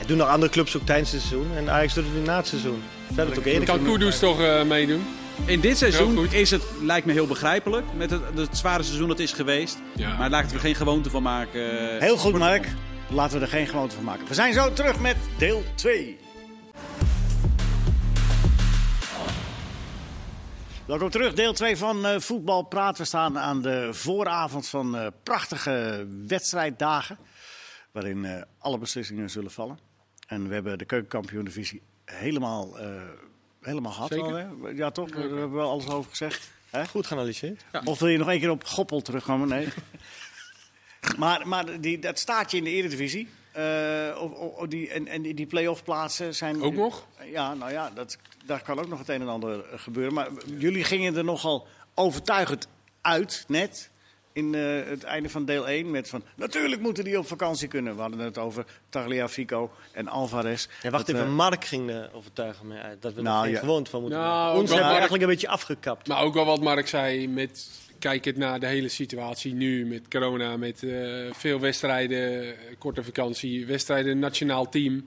C: En doen nog andere clubs ook tijdens het seizoen. En Ajax doet het nu na het seizoen. Ze hebben het ook eerder
D: Kan
C: gedaan.
D: Kudus toch eh, meedoen?
B: In dit
D: Heel
B: seizoen
D: goed.
B: is het, lijkt me heel begrijpelijk, met het, het zware seizoen dat is geweest.
D: Ja.
B: Maar laten we er geen gewoonte van maken. eh,
A: Heel goed, Mark. Laten we er geen gewoonte van maken. We zijn zo terug met deel 2. Welkom terug, deel 2 van eh, Voetbal Praat. We staan aan de vooravond van eh, prachtige wedstrijddagen. Waarin eh, alle beslissingen zullen vallen. En we hebben de keukenkampioen-divisie helemaal, eh, helemaal gehad.
D: Zeker.
A: al, hè? Ja, toch? Daar hebben we wel alles over gezegd. Hè?
C: Goed geanalyseerd.
A: Of wil je nog één keer op Goppel terugkomen? Nee. maar maar die, dat staat je in de Eredivisie. Eh, of, of- of die, en en die, die play-off plaatsen zijn...
D: Ook nog?
A: Ja, nou ja, dat, daar kan ook nog het een en ander eh, gebeuren. Maar jullie gingen er nogal overtuigend uit, net. In eh, het einde van deel 1 met van... Natuurlijk moeten die op vakantie kunnen. We hadden het over Tagliafico en Alvarez.
C: Ja, wacht
A: Dat,
C: even,
A: eh,
C: Mark ging eh, overtuigen me uit dat we
A: Nou,
C: er geen
A: ja.
C: gewoonte van moeten
D: Nou,
C: maken.
D: ook
C: Ons
D: wel
C: hebben we
D: Mark-
C: eigenlijk een beetje afgekapt.
D: Maar ook wel wat Mark zei, met, kijkend naar de hele situatie nu met corona, met eh, veel wedstrijden, eh, korte vakantie, wedstrijden, nationaal team.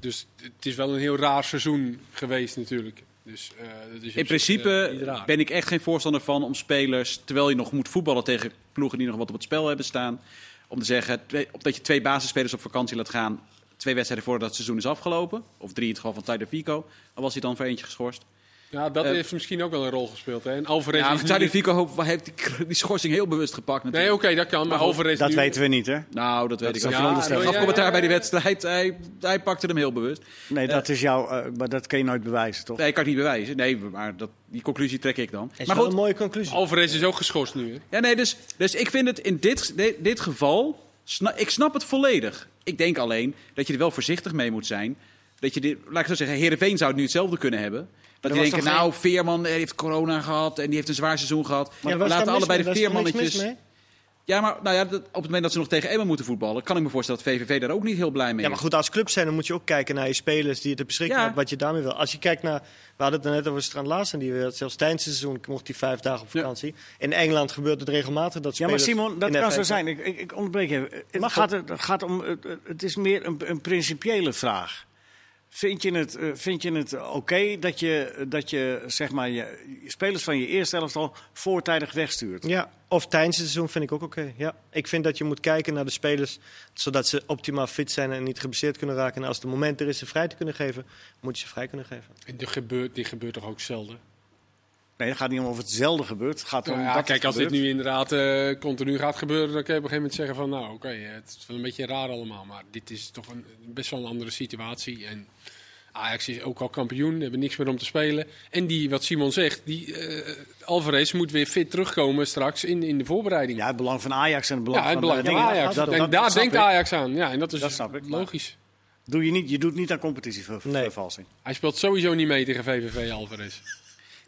D: Dus het is wel een heel raar seizoen geweest natuurlijk. Dus, eh, dat is op
B: In
D: zich,
B: principe
D: eh, niet raar.
B: ben ik echt geen voorstander van om spelers, terwijl je nog moet voetballen tegen ploegen die nog wat op het spel hebben staan, om te zeggen twee, op dat je twee basisspelers op vakantie laat gaan, twee wedstrijden voordat het seizoen is afgelopen, of drie in het geval van Tyler Pico, al was hij dan voor eentje geschorst.
D: Ja, dat
B: eh,
D: heeft misschien ook wel een rol gespeeld. Hè? En Alvarez
B: Ja,
D: is
B: maar
D: nu-
B: Tyler Pico heeft die, die schorsing heel bewust gepakt
D: Nee,
B: natuurlijk.
D: oké, dat kan. Maar
B: Maar
D: Alvarez
A: dat
D: nu-
A: weten we niet, hè?
B: Nou, dat
A: is
B: weet ik
A: een
B: ook. niet.
D: veronderstelling.
B: Hij gaf
D: Ja, ja, ja,
B: commentaar
D: ja.
B: bij de wedstrijd, hij, hij pakte hem heel bewust.
A: Nee, dat is jouw... eh, maar dat kun je nooit bewijzen, toch?
B: Nee, ik kan het niet bewijzen. Nee, maar dat, die conclusie trek ik dan.
C: Dat is
B: Maar
C: wel
B: goed,
C: een mooie conclusie.
D: Alvarez is ook geschorst nu. Hè?
B: Ja, nee, dus, dus ik vind het in dit, dit, dit geval. sna- ik snap het volledig. Ik denk alleen dat je er wel voorzichtig mee moet zijn. Dat je dit, laat ik zo zeggen, Herenveen zou het nu hetzelfde kunnen hebben. Dat die
A: was
B: denken,
A: toch geen-
B: nou, Veerman eh, heeft corona gehad en die heeft een zwaar seizoen gehad.
C: Ja, waar is
B: laten
C: daar mis
B: allebei
C: mee?
B: de
C: Daar is toch niks
B: Veermannetjes.
C: mis mee?
B: Ja, maar nou ja, dat- op het moment dat ze nog tegen Emmen moeten voetballen, kan ik me voorstellen dat VVV daar ook niet heel blij mee
C: Ja, maar
B: is.
C: goed, als club zijn, dan moet je ook kijken naar je spelers die je te beschikken
B: Ja.
C: hebt, wat je daarmee wil. Als je kijkt naar, we hadden het er net over Strand Larsen, die weer, zelfs tijdens het seizoen mocht hij vijf dagen op
B: Ja.
C: vakantie. In Engeland gebeurt het regelmatig dat
A: Ja, maar
C: spelers
A: Simon, dat
C: in
A: kan
C: F5
A: zo zijn. Ik, ik, ik onderbreek je. even. Het
C: Mag
A: gaat, er- het gaat om, het, het is meer een, een principiële vraag. Vind je het, eh, vind je het oké dat je, dat je, zeg maar, je, je spelers van je eerste elftal voortijdig wegstuurt?
C: Ja, of tijdens het seizoen vind ik ook oké. Ja. Ik vind dat je moet kijken naar de spelers, zodat ze optimaal fit zijn en niet geblesseerd kunnen raken. En als het moment er is ze vrij te kunnen geven, moet je ze vrij kunnen geven.
D: En dit gebeurt, dit gebeurt toch ook zelden?
A: Nee, het gaat niet om of hetzelfde gebeurt. Het gaat om
D: Nou ja,
A: dat
D: kijk,
A: het
D: als dit
A: gebeurt.
D: nu inderdaad eh, continu gaat gebeuren, dan kun je op een gegeven moment zeggen van nou oké, eh, het is wel een beetje raar allemaal. Maar dit is toch een, best wel een andere situatie. En Ajax is ook al kampioen, die hebben niks meer om te spelen. En die, wat Simon zegt, die eh, Alvarez moet weer fit terugkomen straks in, in de voorbereiding.
A: Ja, het belang van Ajax en het belang,
D: Ja, het
A: van, eh,
D: belang van
A: dingen.
D: Ajax.
A: Dat,
D: en
A: dat-
D: daar
A: dat snap
D: denkt
A: ik.
D: Ajax aan. Ja, en dat is
A: Dat snap ik, maar-
D: logisch.
A: Doe je, niet, je doet niet aan competitievervalsing.
D: Hij speelt sowieso niet mee tegen VVV Alvarez.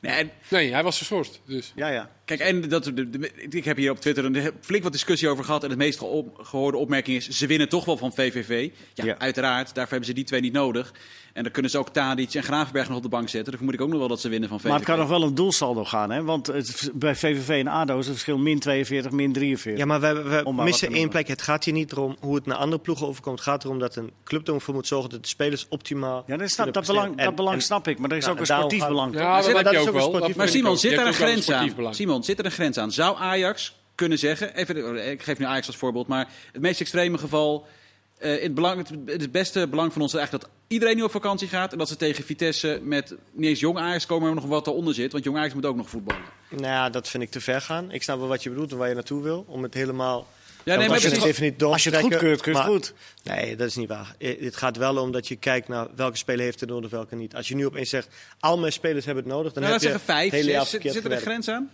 B: Nee, en,
D: Nee, hij was geschorst. Dus.
A: Ja, ja.
B: kijk, en dat, de- de- ik heb hier op Twitter een flink wat discussie over gehad. En het meest geop- gehoorde opmerking is: ze winnen toch wel van VVV. Ja,
A: Ja.
B: uiteraard. Daarvoor hebben ze die twee niet nodig. En dan kunnen ze ook Tadic en Gravenberg nog op de bank zetten. dus Dan vermoed ik ook nog wel dat ze winnen van VVV.
A: Maar het kan nog wel een doelsaldo gaan, hè? Want het, v- bij VVV en ADO is het verschil min 42, min 43.
C: Ja, maar we, we
A: Om maar wat te
C: missen één
A: noemen.
C: plek. Het gaat hier niet om hoe het naar andere ploegen overkomt. Het gaat erom dat een club ervoor moet zorgen dat de spelers optimaal.
A: Ja, dat, snap,
C: kunnen
A: dat
C: presteren.
A: belang, dat
C: En-
A: belang
C: en-
A: snap ik, maar er is
C: nou,
A: ook een
C: en daarom
A: sportief
C: gaat-
A: belang. toch?
D: Ja, maar
C: zit-
D: dat
C: dat
D: heb
C: is
D: je
C: ook
D: ook
C: een
D: wel. Dat
C: sportief-
B: Maar
D: vind ik
B: Simon,
D: ook.
B: zit
D: Je
B: daar een
D: hebt ook wel
B: grens aan?
D: sportief belang.
B: Simon, zit er een grens aan? Zou Ajax kunnen zeggen, even, ik geef nu Ajax als voorbeeld, maar het meest extreme geval, eh, in het, belang, het, het beste belang van ons is eigenlijk dat iedereen nu op vakantie gaat en dat ze tegen Vitesse met niet eens jong Ajax komen, maar nog wat eronder zit, want jong Ajax moet ook nog voetballen.
C: Nou ja, dat vind ik te ver gaan. Ik snap wel wat je bedoelt en waar je naartoe wil. Om het helemaal.
B: Ja, nee,
C: Dan
B: maar
C: als je
B: het is
C: het even niet door
A: Als je het
C: te
A: goed
C: trekken,
A: keurt, kun je het
C: maar-
A: goed.
C: Nee, dat is niet waar. Eh, Het gaat wel om dat je kijkt naar welke speler heeft het nodig, welke niet. Als je nu opeens zegt, al mijn spelers hebben het nodig, dan
B: Nou,
C: heb
B: laat
C: je
B: zeggen vijf,
C: het hele jaar
B: zes, zit,
C: verkeerd
B: zit er een
C: gewerkt.
B: grens aan?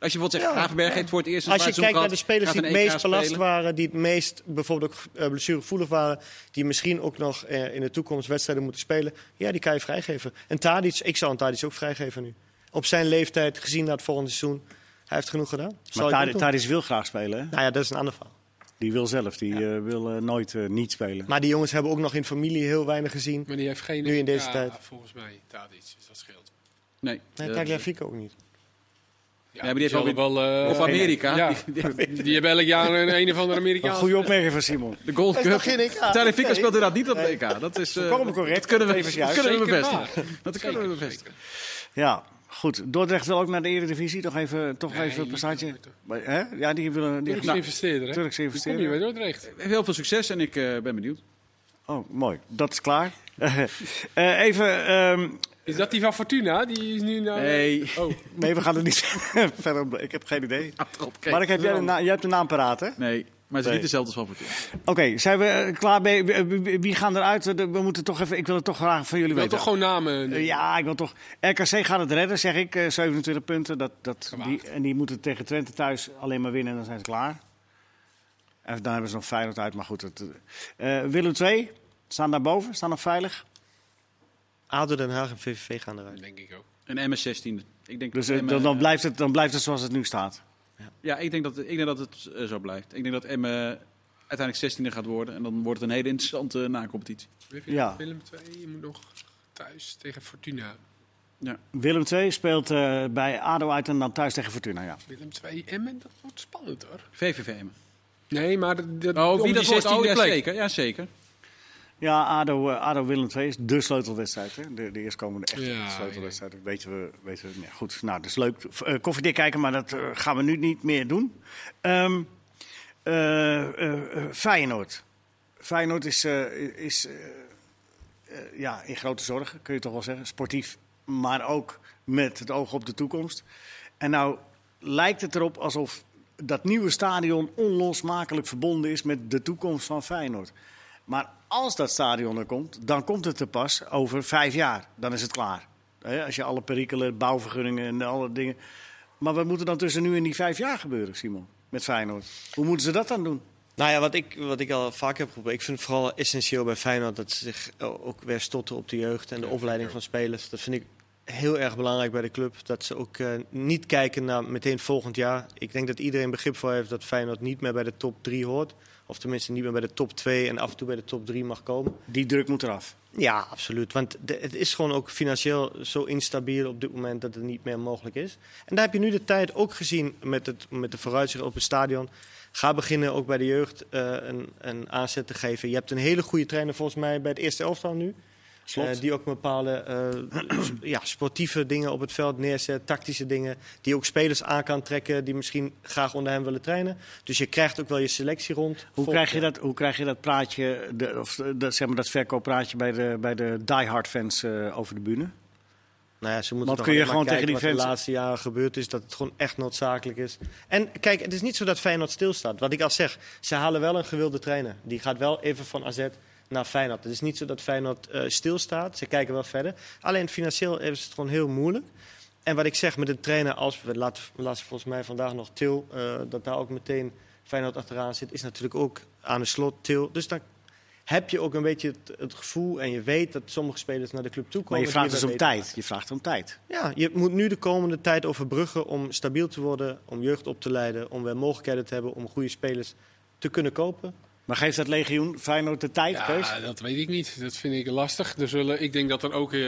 B: Als je bijvoorbeeld zegt, Gravenberg heeft voor het eerst een
C: Als je
B: zwaar seizoen
C: kijkt naar de
B: gehad,
C: spelers die het
B: gaat een EK
C: meest belast
B: spelen.
C: waren, die het meest bijvoorbeeld ook eh, blessuregevoelig waren, die misschien ook nog eh, in de toekomst wedstrijden moeten spelen, ja, die kan je vrijgeven. En Tadic, ik zou een Tadic ook vrijgeven nu. Op zijn leeftijd, gezien naar het volgende seizoen, hij heeft genoeg gedaan. Zal ik
A: Maar
C: ook
A: Tadi-
C: doen.
A: Tadis wil graag spelen, hè?
C: Nou ja, dat is een ander verhaal.
A: Die wil zelf, die eh, wil eh, nooit eh, niet spelen.
C: Maar die jongens hebben ook nog in familie heel weinig gezien.
D: Maar die heeft geen...
C: Nu in deze
D: Ja,
C: tijd.
D: Volgens mij, Tadic, dus dat scheelt.
B: Nee,
C: Nee,
B: eh,
C: Tagliafico ook niet.
D: Ja,
B: maar die heeft wel
D: wel... eh,
B: of Amerika.
D: Ja,
B: Die- die-
D: die hebben elk jaar een, een of andere
A: Een
D: Amerikaan.
A: goede opmerking van Simon.
B: de Gold
C: Dat is
B: Cup.
C: nog geen EK.
B: Tarek Fikker
C: Nee.
B: speelt inderdaad niet op de EK. Dat is... eh,
A: Volkomen correct.
B: Dat kunnen we,
A: Even juist.
B: dat kunnen we
D: Zeker
B: bevestigen.
D: waar.
B: Dat kunnen we bevestigen.
A: Ja, goed. Dordrecht wil ook naar de Eredivisie. Toch even, toch
D: Nee,
A: even een
D: die-
A: passage. Maar, hè? Ja, die willen... Die,
D: Turks
A: Nou,
D: investeerder, hè?
A: Turks investeerder.
D: Die kom je bij Dordrecht.
B: Heel veel succes en ik eh, ben benieuwd.
A: Oh, mooi. Dat is klaar. Eh, even... ehm,
D: Is dat die van Fortuna? Die is nu naar...
B: Nee.
D: Oh,
A: nee, we gaan er niet verder op. Ik heb geen idee.
B: Ah,
A: Maar ik heb, jij, de na- jij hebt de naam paraat, hè? Oké,
B: Nee, maar het is
A: Nee.
B: niet dezelfde als van Fortuna.
A: zijn we eh, klaar? bij- bij- bij- Wie gaan eruit? Eh, de- We moeten toch even, ik wil het toch graag van jullie
D: je
A: weten.
D: wil toch gewoon namen...
A: Eh, ja, ik wil toch... RKC gaat het redden, zeg ik. eh, 27 punten. Dat, dat, die,
D: Gewaagd.
A: en die moeten tegen Twente thuis alleen maar winnen en dan zijn ze klaar. En dan hebben ze nog Feyenoord uit, maar goed. Het, eh, eh, Willem 2 staan daarboven, staan nog veilig.
C: ADO Den Haag en VVV gaan eruit.
D: Denk ik ook.
B: Een MS-16. Ik denk
A: Dus
B: dat
A: eh,
B: Emmen-
A: dan, dan, blijft het, dan blijft het zoals het nu staat.
B: Ja, ik denk dat, ik denk dat het eh, zo blijft. Ik denk dat Emme uiteindelijk 16e gaat worden. En dan wordt het een hele interessante nacompetitie.
D: Heb je
A: Ja.
D: nog Willem 2, je moet nog thuis tegen Fortuna.
A: Willem 2 speelt eh, bij ADO uit en dan thuis tegen Fortuna, ja.
D: Willem 2 Emmen, dat wordt spannend hoor.
B: VVV Emmen.
D: Nee, maar dat,
B: Oh, wie dat wordt?
D: 16e
B: Oh, ja,
D: plek.
B: zeker. Ja, zeker.
A: Ja, ADO, eh, ADO Willem II is de sleutelwedstrijd. Hè? De, de eerstkomende echte
D: Ja,
A: sleutelwedstrijd. Dat weten we. Weten we ja, goed, nou, dat is leuk. V- eh, koffiedik kijken, maar dat eh, gaan we nu niet meer doen. Ehm, eh, eh, eh, Feyenoord. Feyenoord is, eh, is eh, eh, ja, in grote zorgen, kun je toch wel zeggen. Sportief, maar ook met het oog op de toekomst. En nou lijkt het erop alsof dat nieuwe stadion onlosmakelijk verbonden is met de toekomst van Feyenoord. Maar als dat stadion er komt, dan komt het er pas over vijf jaar. Dan is het klaar. Hè, Als je alle perikelen, bouwvergunningen en alle dingen. Maar wat moet er dan tussen nu en die vijf jaar gebeuren, Simon? Met Feyenoord. Hoe moeten ze dat dan doen?
C: Nou ja, wat ik, wat ik al vaak heb geprobeerd. Ik vind het vooral essentieel bij Feyenoord dat ze zich eh, ook weer stotten op de jeugd en de opleiding van spelers. Dat vind ik heel erg belangrijk bij de club. Dat ze ook eh, niet kijken naar meteen volgend jaar. Ik denk dat iedereen begrip voor heeft dat Feyenoord niet meer bij de top 3 hoort. Of tenminste niet meer bij de top 2 en af en toe bij de top 3 mag komen.
A: Die druk moet eraf.
C: Ja, absoluut. Want de- het is gewoon ook financieel zo instabiel op dit moment dat het niet meer mogelijk is. En daar heb je nu de tijd ook gezien met, het, met de vooruitzicht op het stadion. Ga beginnen ook bij de jeugd eh, een, een aanzet te geven. Je hebt een hele goede trainer volgens mij bij het eerste elftal nu.
A: Slot.
C: Eh, die ook bepaalde eh, sp- ja, sportieve dingen op het veld neerzet, tactische dingen. Die ook spelers aan kan trekken die misschien graag onder hem willen trainen. Dus je krijgt ook wel je selectie rond.
A: Hoe
C: Vol-
A: krijg, je dat, hoe krijg je dat praatje, de, of eh, dat, zeg maar dat verkooppraatje bij de, bij de diehard fans eh, over de bühne?
C: Nou ja, ze moeten
A: Want
C: toch
A: kun je
C: alleen
A: gewoon
C: maar
A: tegen
C: kijken
A: die
C: wat de
A: fans-
C: laatste jaren gebeurd is, dat het gewoon echt noodzakelijk is. En kijk, het is niet zo dat Feyenoord stilstaat. Wat ik al zeg, ze halen wel een gewilde trainer. Die gaat wel even van AZ naar Feyenoord. Het is niet zo dat Feyenoord eh, stilstaat. Ze kijken wel verder. Alleen financieel hebben ze het gewoon heel moeilijk. En wat ik zeg met een trainer als, we laten laatst volgens mij vandaag nog Til, eh, dat daar ook meteen Feyenoord achteraan zit, is natuurlijk ook aan de slot Til. Dus dan heb je ook een beetje het, het gevoel en je weet dat sommige spelers naar de club toe komen.
A: Maar je
C: die
A: vraagt dus
C: wel
A: om
C: weten-
A: tijd. Je vraagt om tijd.
C: ja, je moet nu de komende tijd overbruggen om stabiel te worden, om jeugd op te leiden, om weer mogelijkheden te hebben om goede spelers te kunnen kopen.
A: Maar geeft dat legioen Feyenoord de tijd, Kees?
D: Ja, dat weet ik niet. Dat vind ik lastig. Er zullen, ik denk dat er ook. eh,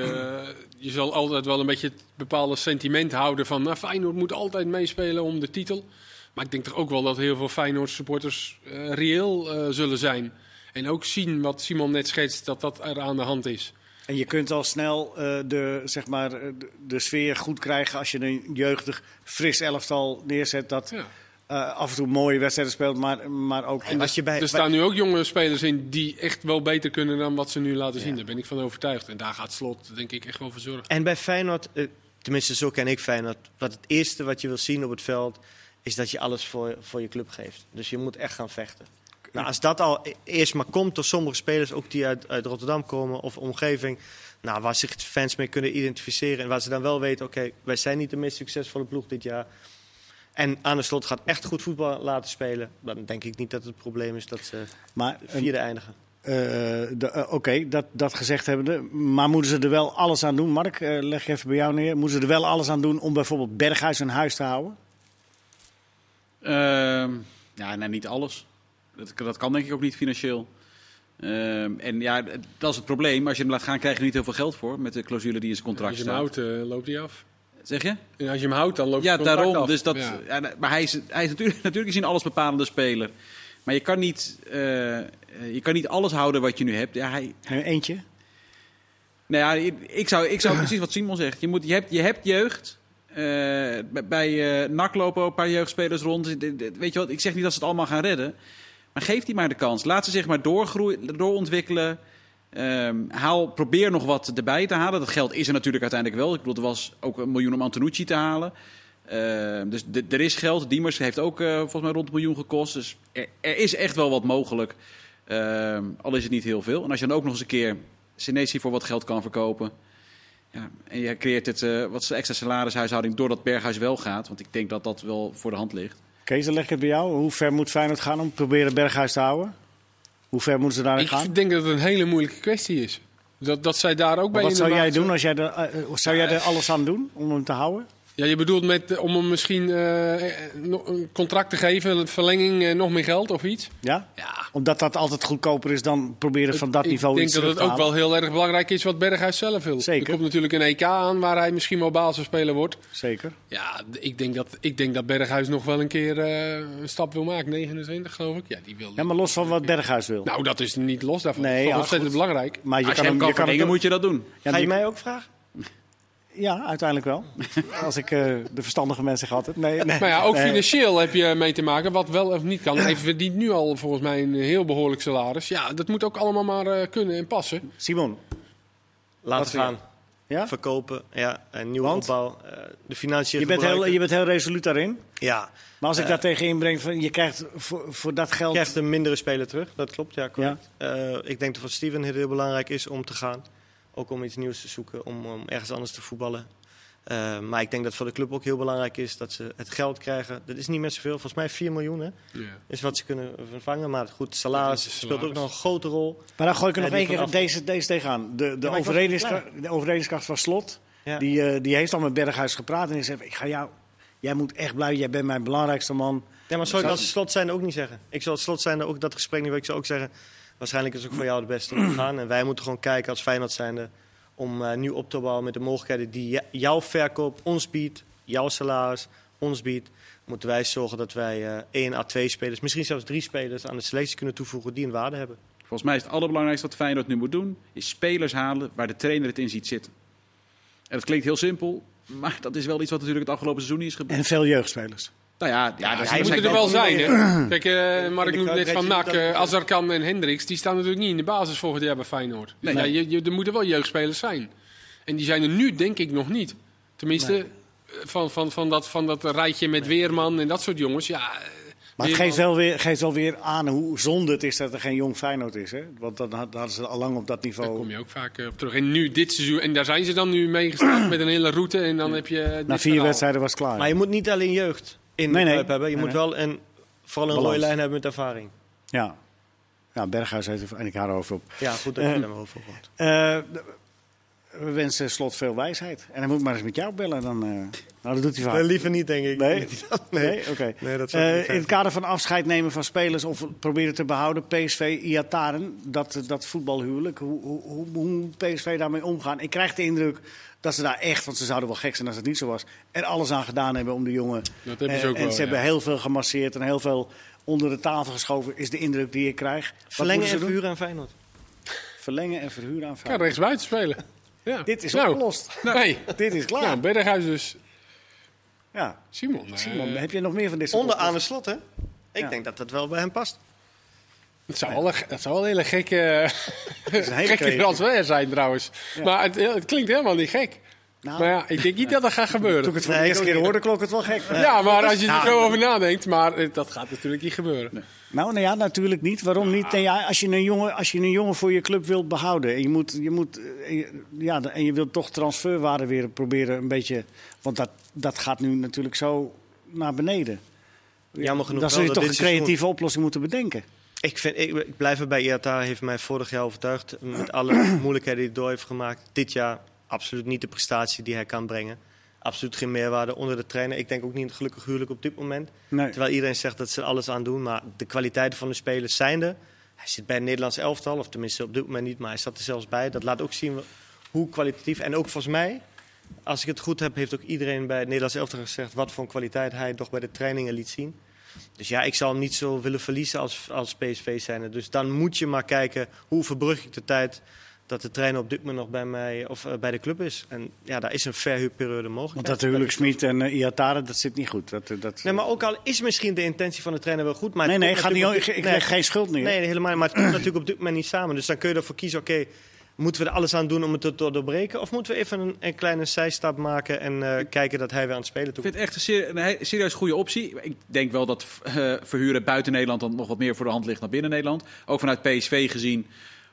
D: je zal altijd wel een beetje het bepaalde sentiment houden van. Nou, Feyenoord moet altijd meespelen om de titel. Maar ik denk toch ook wel dat heel veel Feyenoord supporters eh, reëel eh, zullen zijn. En ook zien wat Simon net schetst, dat dat er aan de hand is.
A: En je kunt al snel eh, de, zeg maar, eh, de, de sfeer goed krijgen als je een jeugdig, fris elftal neerzet dat
D: Ja.
A: eh, af en toe mooie wedstrijden speelt, maar, maar ook...
C: En als je bij,
D: Er
C: bij-
D: staan nu ook jonge spelers in die echt wel beter kunnen dan wat ze nu laten zien. Daar ben ik van overtuigd. En daar gaat slot, denk ik, echt wel voor zorgen.
C: en bij Feyenoord, eh, tenminste zo ken ik Feyenoord, dat het eerste wat je wil zien op het veld is dat je alles voor, voor je club geeft. Dus je moet echt gaan vechten. Nou, als dat al e- eerst maar komt door sommige spelers, ook die uit, uit Rotterdam komen of omgeving, nou, waar zich fans mee kunnen identificeren en waar ze dan wel weten, oké, wij zijn niet de meest succesvolle ploeg dit jaar. En aan de slot gaat echt goed voetbal laten spelen. Dan denk ik niet dat het probleem is dat ze
A: maar een-
C: vierde eindigen.
A: Eh, de- eh, Oké, dat, dat gezegd hebbende. Maar moeten ze er wel alles aan doen? Mark, eh, leg je even bij jou neer. Moeten ze er wel alles aan doen om bijvoorbeeld Berghuis een huis te houden?
B: Ehm, ja, nee, niet alles. Dat, dat kan denk ik ook niet financieel. Ehm, en ja, dat is het probleem. Als je hem laat gaan, krijg je er niet heel veel geld voor. Met de clausule die in zijn
D: Als
B: contract
D: je hem
B: staat.
D: houdt, eh, loopt hij af.
B: Zeg je?
D: En als je hem houdt, dan loopt
B: Ja,
D: het contract
B: daarom.
D: af.
B: Dus dat,
D: Ja.
B: ja, maar hij is, hij is natuurlijk, natuurlijk is hij een allesbepalende speler. Maar je kan, niet, eh, eh, je kan niet alles houden wat je nu hebt. Ja, hij,
A: Eh, Eentje?
B: nou ja, ik zou, ik zou precies wat Simon zegt. Je, moet, je, hebt, je hebt jeugd. Eh, bij- bij eh NAC lopen ook een paar jeugdspelers rond. Dit- dit- Weet je wat, ik zeg niet dat ze het allemaal gaan redden. Maar geef die maar de kans. Laat ze zich maar doorgroeien, doorontwikkelen. Ehm, haal, probeer nog wat erbij te halen. Dat geld is er natuurlijk uiteindelijk wel. Ik bedoel, er was ook een miljoen om Antonucci te halen. Ehm, dus d- er is geld. Diemers heeft ook eh, volgens mij rond een miljoen gekost. Dus er, er is echt wel wat mogelijk. Ehm, al is het niet heel veel. En als je dan ook nog eens een keer Senesi voor wat geld kan verkopen. Ja, en je creëert het eh, wat extra salarishuishouding doordat Berghuis wel gaat. Want ik denk dat dat wel voor de hand ligt.
A: Kees, dan leg ik het bij jou. Hoe ver moet Feyenoord gaan om te proberen Berghuis te houden? Hoe ver moeten ze daarin
D: Ik
A: gaan?
D: denk dat het een hele moeilijke kwestie is. Dat, dat zij daar ook
A: Maar
D: bij
A: wat zou jij
D: inderdaad-
A: doen als jij er, eh, eh, zou jij er alles aan doen om hem te houden?
D: Ja, je bedoelt met, eh, om hem misschien eh, eh, no- een contract te geven, een verlenging, eh, nog meer geld of iets?
A: Ja?
D: Ja.
A: Omdat dat altijd goedkoper is dan proberen van dat
D: ik
A: niveau
D: denk
A: iets
D: dat
A: terug
D: het
A: te
D: ook wel
A: halen.
D: heel erg belangrijk is wat Berghuis zelf wil.
A: Zeker.
D: Er komt natuurlijk een EK aan waar hij misschien wel basisspeler wordt.
A: Zeker.
D: Ja, d- ik denk dat, ik denk dat Berghuis nog wel een keer eh, een stap wil maken. 29 geloof ik. Ja, die wil.
A: Ja, maar los van wat Berghuis wil.
D: Nou, dat is niet los daarvan.
A: Nee,
D: Nee, dat is toch
A: ja, goed.
D: ontzettend belangrijk.
A: maar je
B: Als
A: kan
B: je hem kan
A: je kan
B: verlengen,
A: hem-
B: moet je dat doen.
A: ja,
C: Ga je
A: je-
C: mij ook vragen?
A: Ja, uiteindelijk wel. Als ik eh, de verstandige mensen gehad heb. Nee, nee.
D: Maar Nou ja, ook
A: Nee.
D: financieel heb je mee te maken. Wat wel of niet kan. Hij verdient nu al volgens mij een heel behoorlijk salaris. Ja, dat moet ook allemaal maar eh, kunnen en passen.
A: Simon,
C: Laten
A: Wat
C: gaan.
A: ja?
C: Verkopen, ja, een nieuwe
A: Want?
C: opbouw. eh, de financiën
A: je, bent heel,
C: gebruiken.
A: je bent heel resoluut daarin.
C: Ja,
A: Maar als ik
C: Eh.
A: daar tegen inbreng, van, je krijgt voor, voor dat geld...
C: Je krijgt een mindere speler terug, dat klopt, ja,
A: ja.
C: correct. Eh, ik denk dat voor Steven het heel belangrijk is om te gaan. Ook om iets nieuws te zoeken, om, om ergens anders te voetballen. Eh, maar ik denk dat voor de club ook heel belangrijk is dat ze het geld krijgen. Dat is niet meer zoveel, volgens mij 4 miljoen hè, is wat ze kunnen vervangen. Maar goed, salaris,
D: Dat is de
C: speelt ook
D: salaris.
C: nog een grote rol.
A: Maar dan gooi ik er
C: Ja,
A: nog
C: die
A: één keer
C: vanaf-
A: deze, deze tegenaan. De, de,
C: was niet
A: overredingskra- de overredingskracht van Slot,
C: Ja.
A: die, eh, die heeft al met Berghuis gepraat. En die zegt, ik ga jou, jij moet echt blijven, jij bent mijn belangrijkste man.
C: Ja, maar zou ik
A: Zou-
C: als slot zijn ook niet zeggen. Ik zal als slot zijn ook dat gesprek niet willen. Ik zou ook zeggen, waarschijnlijk is het ook voor jou het beste om te gaan. En wij moeten gewoon kijken als Feyenoord zijnde om eh, nu op te bouwen met de mogelijkheden die j- jouw verkoop ons biedt, jouw salaris ons biedt. Moeten wij zorgen dat wij eh één à twee spelers, misschien zelfs drie spelers aan de selectie kunnen toevoegen die een waarde hebben.
B: Volgens mij is het allerbelangrijkste wat Feyenoord nu moet doen, is spelers halen waar de trainer het in ziet zitten. En dat klinkt heel simpel, maar dat is wel iets wat natuurlijk het afgelopen seizoen is gebeurd.
A: En veel jeugdspelers.
B: Nou ja, ja, dat
D: Ze
B: is
D: moeten er wel zijn, hè? Kijk, eh, Mark
C: Ik
D: noemt
C: weet
D: net
C: je
D: van
C: niet
D: NAC,
C: dat-
D: eh, Azarkan en Hendricks. Die staan natuurlijk niet in de basis volgend jaar bij Feyenoord.
B: Nee.
D: Ja, je, je, er moeten wel jeugdspelers zijn. En die zijn er nu denk ik nog niet. Tenminste, eh, van, van, van, dat, van dat rijtje met Weerman en dat soort jongens. Ja, eh,
A: Maar het
D: Weerman-
A: geeft wel, weer, geeft wel weer aan hoe zonde het is dat er geen jong Feyenoord is. Hè? Want dan had- hadden ze al lang op dat
D: Daar kom
A: niveau.
D: je ook vaak eh, op terug. En nu dit seizoen, en daar zijn ze dan nu mee gestart met een hele route. En dan heb je. eh, dit
A: Na vier
D: verhaal.
A: wedstrijden was het klaar.
C: Maar je moet niet alleen jeugd in
A: Nee,
C: de
A: nee.
C: club hebben. Je
A: Nee,
C: moet
A: nee.
C: wel een, vooral een
A: Balans.
C: rode lijn hebben met ervaring.
A: Ja. ja, Berghuis heeft er en ik haar over op.
C: Ja, goed dat
A: Eh,
C: je daar over hoort.
A: Eh, we wensen Slot veel wijsheid. En hij moet maar eens met jou bellen. Dan, eh, Nou, dat doet hij vaak.
C: Nee, Eh, liever niet, denk ik.
A: Nee?
C: nee.
A: oké.
C: Nee, dat zou ik
A: Eh,
C: niet
A: in het
C: zeggen.
A: kader van afscheid nemen van spelers of proberen te behouden, PSV, Iataren, dat, eh, dat voetbalhuwelijk, hoe, hoe, hoe- hoe PSV daarmee omgaan. Ik krijg de indruk dat ze daar echt, want ze zouden wel gek zijn als het niet zo was, er alles aan gedaan hebben om de jongen.
D: Dat hebben ze
A: Eh,
D: ook
A: en
D: wel,
A: ze
D: ja.
A: hebben heel veel gemasseerd en heel veel onder de tafel geschoven, is de indruk die ik krijg. Wat
C: Verlengen
A: moeten
C: en
A: ze doen?
C: vuren aan Feyenoord.
A: Verlengen en verhuren aan
D: Kan
A: vrouwen.
D: rechts buiten spelen. Ja.
A: Dit is
D: Nou,
A: opgelost.
D: Nee.
A: Dit is klaar.
D: Nou, Berghuis dus.
A: Ja.
D: Simon. eh,
A: Simon, heb je nog meer van dit soort
C: Onder aan de slot, hè? Ik
A: Ja.
C: denk dat dat wel bij hem past.
D: Dat zou, wel, een- dat zou wel een hele gekke,
A: is een hele
D: gekke
A: creatieve.
D: transfer zijn trouwens. Maar het, het klinkt helemaal niet gek.
A: Nou.
D: maar ja, ik denk niet dat dat gaat gebeuren.
A: Toen ik het voor de
C: Nee,
A: eerste
C: ik
A: keer
C: ook niet.
A: hoorde, klonk het wel gek.
D: Ja, maar als je er
A: Nou,
D: zo over nadenkt, maar eh, dat gaat natuurlijk niet gebeuren.
A: Nou, nou ja, natuurlijk niet. Waarom niet? Nou ja, als, je een jongen, als je een jongen voor je club wilt behouden. En je, moet, je, moet, eh, je- ja, de- en je wilt toch transferwaarde weer proberen een beetje. Want dat, dat gaat nu natuurlijk zo naar beneden.
C: Jammer genoeg
A: Dan zul je
C: wel dat
A: toch een
C: dit seizoen-
A: creatieve oplossing moeten bedenken.
C: Ik, vind, ik, ik blijf erbij. Iata heeft mij vorig jaar overtuigd. Met alle moeilijkheden die hij door heeft gemaakt. Dit jaar absoluut niet de prestatie die hij kan brengen. Absoluut geen meerwaarde onder de trainer. Ik denk ook niet een gelukkig huwelijk op dit moment.
A: Nee.
C: Terwijl iedereen zegt dat ze er alles aan doen. Maar de kwaliteiten van de spelers zijn er. Hij zit bij het Nederlands elftal. Of tenminste op dit moment niet. Maar hij zat er zelfs bij. Dat laat ook zien hoe kwalitatief. En ook volgens mij, als ik het goed heb, heeft ook iedereen bij het Nederlands elftal gezegd. wat voor een kwaliteit hij toch bij de trainingen liet zien. Dus ja, ik zou hem niet zo willen verliezen als, als PSV zijn. Dus dan moet je maar kijken hoe verbrug ik de tijd dat de trainer op dit moment nog bij mij of eh, bij de club is. En ja, daar is een verhuurperiode mogelijk.
A: Want dat huwelijk Smit en eh, Iatare, dat zit niet goed. Dat, eh, dat,
C: Nee, maar ook al is misschien de intentie van de trainer wel goed. Maar
A: nee,
C: het
A: nee, ik,
C: komt
A: ga niet,
C: natuurlijk
A: ik,
C: op
A: ik
C: dit-
A: leg geen schuld neer.
C: nee, nee, helemaal niet. Maar het komt natuurlijk op dit moment niet samen. Dus dan kun je ervoor kiezen, oké, moeten we er alles aan doen om het te door- doorbreken? Of moeten we even een, een kleine zijstap maken en eh, kijken dat hij weer aan het spelen toe
B: Ik vind het echt een, ser- een he- serieus goede optie. Ik denk wel dat eh, verhuren buiten Nederland dan nog wat meer voor de hand ligt dan binnen Nederland. Ook vanuit PSV gezien.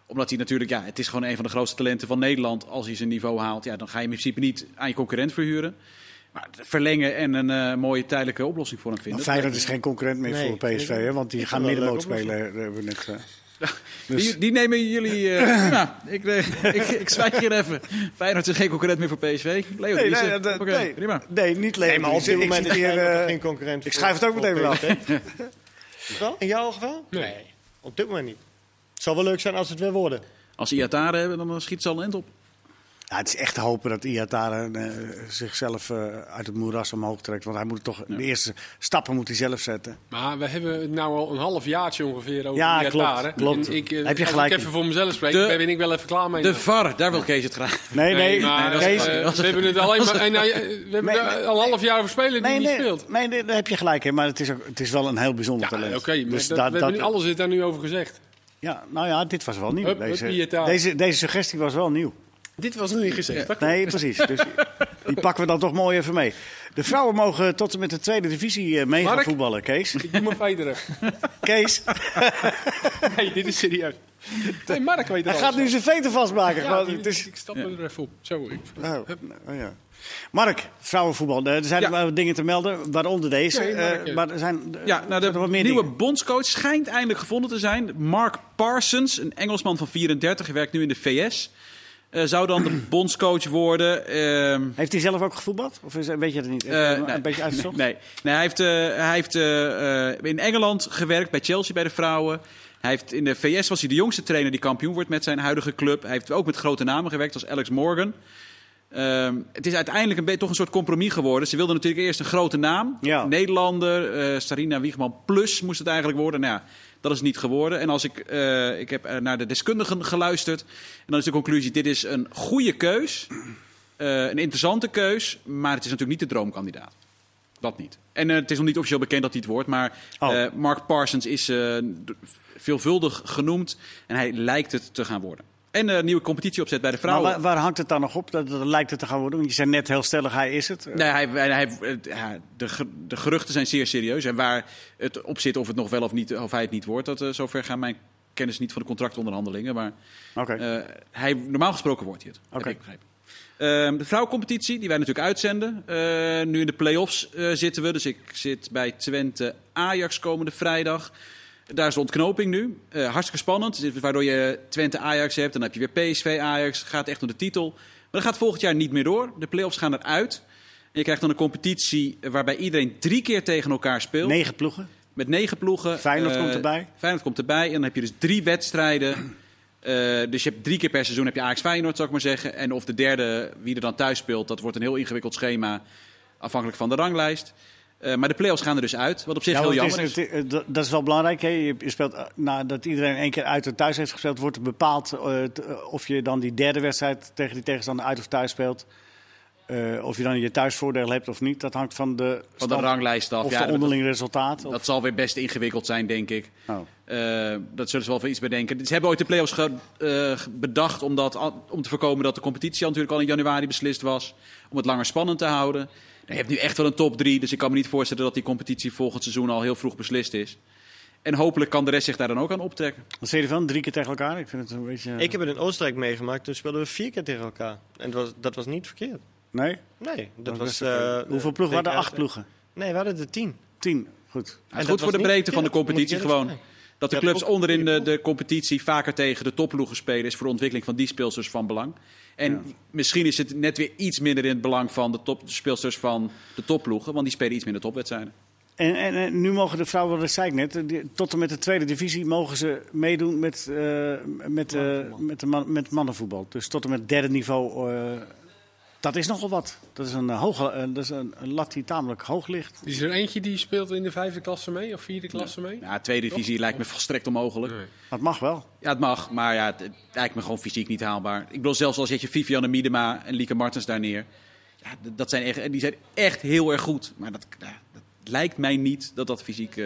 B: Omdat hij natuurlijk, ja, het is gewoon een van de grootste talenten van Nederland. Als hij zijn niveau haalt, ja, dan ga je hem in principe niet aan je concurrent verhuren. Maar verlengen en een eh, mooie tijdelijke oplossing voor hem
A: Maar
B: vinden.
A: Nou, Feyenoord is geen concurrent meer
C: Nee,
A: voor PSV,
C: ik-
A: hè, want die
C: ik
A: gaan
C: vind wel een
A: middenmoot
C: leuke
A: spelen. eh, hebben we net, eh.
B: Die,
A: dus-
B: die nemen jullie. eh, nou, ik, eh, ik, ik zwijg hier even. Feyenoord is geen concurrent meer voor PSV. Leo,
A: Nee,
B: die is
A: nee,
B: er.
A: dat- dat-
B: Oké,
A: nee.
B: prima.
A: Nee, niet Leo.
C: Nee, maar op
A: Ik zit-
C: dit
A: ik
C: moment
A: zit
C: is
A: hier,
C: Feyenoord nog
A: eh,
C: geen concurrent.
A: ik schrijf het ook meteen wel af.
C: wel. In jouw geval?
D: Nee.
C: Op dit moment niet. Het zou wel leuk zijn als het weer worden.
B: Als ze Iatare hebben, dan eh, schiet ze al een end op.
A: Ja, het is echt te hopen dat Iataren zichzelf eh, uit het moeras omhoog trekt. Want hij moet toch de eerste stappen moet hij zelf zetten.
D: Maar we hebben het nou al een half jaartje ongeveer over
A: Ja,
D: die
A: klopt,
D: jaren.
A: klopt.
D: En Ik, eh,
A: Heb je
D: als
A: gelijk
D: ik even
A: in.
D: voor mezelf spreek,
B: De-
D: daar ben ik wel even klaar mee.
B: De VAR, daar wil Kees het graag.
A: Nee, nee.
D: maar,
A: nee,
D: eh,
A: deze-
D: we hebben het alleen maar. en, eh, we hebben
A: Nee,
D: er
A: nee,
D: al een half jaar over spelen die
A: nee,
D: niet
A: nee,
D: speelt.
A: nee, nee, daar heb je gelijk in. Maar het is, ook, het is wel een heel bijzonder
D: Ja,
A: talent.
D: oké, maar
A: Dus
D: dat,
A: daar-
D: we hebben
A: dat-
D: nu- alles is daar nu over gezegd.
A: ja, nou ja, dit was wel nieuw.
D: Hup, hup,
A: deze,
D: Iataren.
A: deze, deze suggestie was wel nieuw.
D: Dit was nog niet gezegd.
A: Nee, precies. Dus die pakken we dan toch mooi even mee. De vrouwen mogen tot en met de tweede divisie eh, mee gaan
D: Mark?
A: voetballen, Kees.
D: Ik doe mijn vijf
A: Kees,
D: Nee, dit is serieus. Nee, Mark weet het
A: hij
D: al.
A: gaat nu zijn veten vastmaken.
D: Ja,
A: Gewoon,
D: die-
A: het is,
D: Ik stap er even op. Zo, ik,
A: Oh, oh ja. Mark, vrouwenvoetbal. Eh, Er zijn
B: Ja.
A: wel dingen te melden, waaronder deze.
D: Nee, Mark,
A: Eh,
D: ja.
A: maar er zijn, eh,
B: Ja, nou,
A: zijn er
B: de
A: wat meer
B: nieuwe
A: dingen.
B: bondscoach schijnt eindelijk gevonden te zijn. Mark Parsons, een Engelsman van 34, hij werkt nu in de VS. Eh, zou dan de bondscoach worden. ehm,
A: Heeft hij zelf ook gevoetbald? Of is, weet je dat niet? Heb je
B: eh,
A: hem
B: nee.
A: Een beetje uitgezocht?
B: Nee, nee hij heeft, eh, hij heeft eh, eh, in Engeland gewerkt bij Chelsea bij de vrouwen. Hij heeft, in de VS was hij de jongste trainer die kampioen wordt met zijn huidige club. Hij heeft ook met grote namen gewerkt als Alex Morgan. Ehm, het is uiteindelijk een beetje toch een soort compromis geworden. Ze wilden natuurlijk eerst een grote naam.
A: Ja.
B: Nederlander, eh, Sarina Wiegman Plus moest het eigenlijk worden. Nou ja, dat is niet geworden. En als ik, eh, ik heb eh, naar de deskundigen geluisterd. En dan is de conclusie, dit is een goede keus. eh, een interessante keus. Maar het is natuurlijk niet de droomkandidaat. Dat niet. En eh, het is nog niet officieel bekend dat hij het wordt. Maar
A: Oh.
B: eh, Mark Parsons is eh, d- veelvuldig genoemd. En hij lijkt het te gaan worden. En eh, nieuwe competitie opzet bij de
A: Maar
B: vrouwen.
A: waar, waar hangt het dan nog op? Dat, dat lijkt het te gaan worden. Want je zei net heel stellig, hij is het.
B: Nee, hij, hij, hij- het- ja, de, ge- de geruchten zijn zeer serieus. En waar het op zit, of het nog wel of niet, of hij het niet wordt, dat, eh, zover gaan mijn kennis niet van de contractonderhandelingen. Maar
A: Oké.
B: eh, hij, normaal gesproken wordt hij het. heb
A: Oké.
B: ik begrepen. Ehm, de vrouwencompetitie, die wij natuurlijk uitzenden. Eh, nu in de play-offs eh, zitten we. Dus ik zit bij Twente Ajax komende vrijdag. Daar is de ontknoping nu. Eh, hartstikke spannend. Dus Waardoor je Twente Ajax hebt. Dan heb je weer PSV Ajax. Gaat echt om de titel. Maar dat gaat volgend jaar niet meer door. De play-offs gaan eruit. En je krijgt dan een competitie waarbij iedereen drie keer tegen elkaar speelt.
A: Negen ploegen.
B: Met negen ploegen.
A: Feyenoord
B: Eh,
A: komt erbij.
B: Feyenoord komt erbij. En dan heb je dus drie wedstrijden. Eh, dus je hebt drie keer per seizoen heb je Ajax Feyenoord, zou ik maar zeggen. En of de derde, wie er dan thuis speelt, dat wordt een heel ingewikkeld schema. Afhankelijk van de ranglijst. Eh, maar de play-offs gaan er dus uit. Wat op zich
A: Ja,
B: heel
A: want het
B: jammer
A: is-
B: is.
A: het- eh, dat- dat is wel belangrijk. Hè? Je je speelt, eh, nadat iedereen één keer uit en thuis heeft gespeeld, wordt er bepaald eh, t- eh, of je dan die derde wedstrijd tegen die tegenstander uit of thuis speelt. Eh, of je dan je thuisvoordeel hebt of niet. Dat hangt van de,
B: Van de
A: stand
B: ranglijst af.
A: of
B: Ja,
A: de
B: dat,
A: onderling resultaat. Of-
B: dat zal weer best ingewikkeld zijn, denk ik.
A: Oh.
B: Eh, dat zullen ze wel voor iets bedenken. Ze hebben ooit de play-offs ge- eh, ge- bedacht om, dat, al- om te voorkomen dat de competitie al natuurlijk al in januari beslist was. Om het langer spannend te houden. Nou, je hebt nu echt wel een top 3, dus ik kan me niet voorstellen dat die competitie volgend seizoen al heel vroeg beslist is. En hopelijk kan de rest zich daar dan ook aan optrekken. Nou,
A: Wat zei je ervan? Drie keer tegen elkaar? Ik vind het een beetje...
C: Ik heb het in Oostenrijk meegemaakt. Toen speelden we vier keer tegen elkaar. En het was, dat was niet verkeerd.
A: Nee?
C: Nee, dat
A: is
C: was...
A: best oké.
C: eh,
A: Hoeveel
C: eh,
A: ploegen waren er?
C: tegen-
A: Acht ploegen?
C: Nee, we hadden er tien.
A: Tien. Goed.
B: Het is
C: dat
B: goed voor de
C: was niet
B: breedte van de
C: verkeerd,
B: competitie
C: moet ik eerlijk
B: gewoon. Dat de
C: Ja,
B: clubs
C: ploeg-
B: onderin de,
C: ploeg.
B: de competitie vaker tegen de topploegen spelen, is voor de ontwikkeling van die speelsters van belang. En misschien is het net weer iets minder in het belang van de, top, de speelsters van de topploegen, want die spelen iets minder topwedstrijden.
A: En, en, en nu mogen de vrouwen, dat zei ik net, eh, die- tot en met de tweede divisie mogen ze meedoen met, eh, met, eh, met, de man, met mannenvoetbal. Dus tot en met derde niveau, eh, dat is nogal wat. Dat is een, eh, hoge, eh, dat is een, een lat die tamelijk hoog ligt.
D: Is er eentje die speelt in de vijfde klasse mee of vierde klasse mee?
B: Ja, tweede divisie lijkt me volstrekt onmogelijk.
D: Nee.
A: Dat mag wel.
B: Ja, het mag, maar ja, het, het lijkt me gewoon fysiek niet haalbaar. Ik bedoel, zelfs als je Vivianne Miedema en Lieke Martens daar neer. Ja, d- dat zijn echt, en die zijn echt heel erg goed. Maar dat, ja, dat lijkt mij niet dat dat fysiek eh,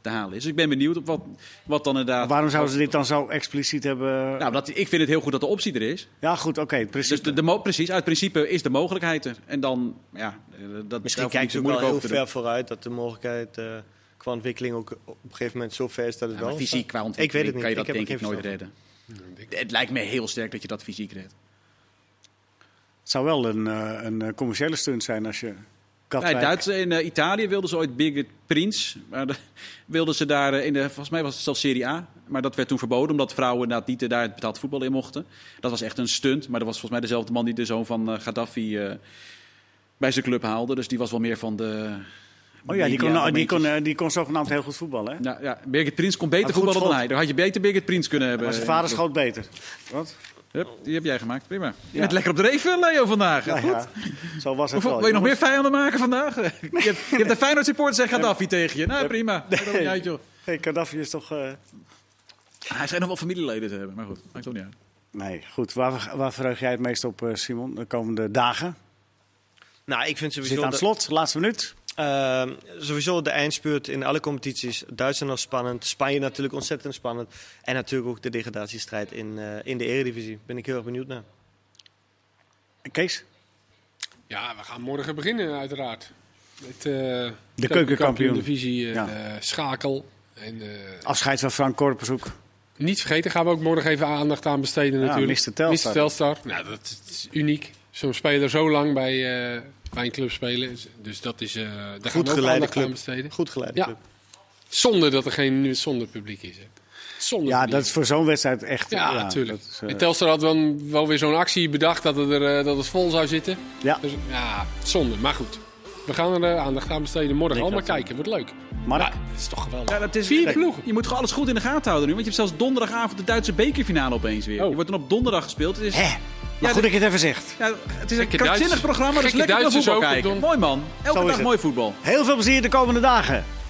B: te halen is. Dus ik ben benieuwd op wat, wat dan inderdaad...
A: Waarom zouden ze dit dan zo expliciet hebben?
B: Nou, dat, ik vind het heel goed dat de optie er is.
A: Ja, goed, oké, precies.
B: Dus de, de mo- precies, uit principe is de mogelijkheid er. En dan, ja, eh, dat
C: Misschien
B: daar hoef je niet
C: kijken
B: te
C: ze ook wel
B: moeilijk
C: heel
B: over te doen.
C: ver vooruit dat de mogelijkheid eh, qua ontwikkeling ook op een gegeven moment zo ver is dat het
B: Ja,
C: wel...
B: maar fysiek, qua
C: Ik weet
B: ontwikkeling,
C: het niet.
B: kan je
C: Ik
B: dat
C: heb er
B: denk ik
C: geen
B: nooit
C: verstand
B: redden. Het lijkt me heel sterk dat je dat fysiek redt.
A: Het zou wel een, eh, een eh, commerciële stunt zijn als je
B: Ja, in,
A: Katwijk...
B: Duits, in eh, Italië wilden ze ooit Big Prince. Maar de- wilden ze daar eh, in de, volgens mij was het zelfs Serie A. Maar dat werd toen verboden omdat vrouwen inderdaad niet eh, daar het betaald voetbal in mochten. Dat was echt een stunt. Maar dat was volgens mij dezelfde man die de zoon van eh, Gaddafi eh, bij zijn club haalde. Dus die was wel meer van de.
A: oh ja, die kon,
B: media-
A: nou, die, kon, eh, die kon zogenaamd heel goed voetballen, hè?
B: Ja, ja, Birgit Prins kon beter
A: Had goed
B: voetballen dan
A: schot.
B: hij. Dan had je beter Birgit Prins kunnen hebben. eh,
A: Maar zijn vader schoot beter. Wat?
B: Hup, die heb jij gemaakt, prima. Je
A: Ja.
B: bent lekker op de reven, Leo, vandaag.
A: Nou
B: Goed.
A: ja, zo was het
B: Hoeveel-
A: wel.
B: wil je nog
A: Jongens,
B: meer vijanden maken vandaag? je, hebt, je hebt de Feyenoord supporter zegt Gaddafi tegen je. Nou, prima. Maakt ook niet uit, joh. Ah,
A: hey, Gaddafi is toch... eh,
B: Hij schijnt nog wel familieleden te hebben, maar goed, maakt ook niet uit.
A: Nee, goed. Waar, waar verheug jij het meest op, eh, Simon, de komende dagen?
C: Nou, ik vind
A: We
C: sowieso...
A: zitten aan het
C: dat-
A: slot, laatste minuut.
C: Ehm, sowieso de eindspurt in alle competities. Duitsland nog spannend. Spanje natuurlijk ontzettend spannend. En natuurlijk ook de degradatiestrijd in, eh, in de Eredivisie. Ben ik heel erg benieuwd naar.
A: En Kees,
D: Ja, we gaan morgen beginnen uiteraard. Met eh
A: De keukenkampioen.
D: divisie
A: Ja.
D: schakel. En, eh,
A: afscheid van Frank Korpershoek.
D: Niet vergeten gaan we ook morgen even aandacht aan besteden
A: Ja,
D: natuurlijk.
A: Mr. Telstar.
D: Telstar. Nou, dat is- dat is uniek. Zo'n speler zo lang bij, eh, bij een club spelen. Dus dat is, eh daar gaan
C: Goed
D: we ook
C: geleide
D: aandacht aan
C: club.
D: besteden.
C: Goed geleide
D: Ja.
C: club.
D: Zonder dat er geen zonder publiek is. Hè. Zonder
A: Ja,
D: publiek.
A: dat is voor zo'n wedstrijd echt...
D: Ja, natuurlijk.
A: dat is, eh,
D: En Telstar had wel, wel weer zo'n actie bedacht dat het, er, eh, dat het vol zou zitten.
A: Ja,
D: Dus, ja, zonde. Maar goed. We gaan er eh, aandacht aan besteden morgen. Allemaal kijken. Wordt leuk.
A: Mark?
D: Ja, dat is toch geweldig.
B: Ja, dat is
D: Vier
B: Nee,
D: ploegen.
B: Je moet gewoon alles goed in de gaten houden nu, want je hebt zelfs donderdagavond de Duitse bekerfinale opeens weer.
D: Oh.
B: Je wordt dan op donderdag gespeeld. Het is,
A: Hè? Eh, Maar goed dat je het even zegt.
B: Ja, het is een
D: Gekke
B: krankzinnig
D: Duits.
B: programma, dus
D: Gekke
B: lekker naar
D: Duitsers
B: voetbal
D: ook,
B: kijken.
D: Don.
B: Mooi man, elke
A: Zo is
B: dag
A: het.
B: mooi voetbal.
A: Heel veel plezier de komende dagen.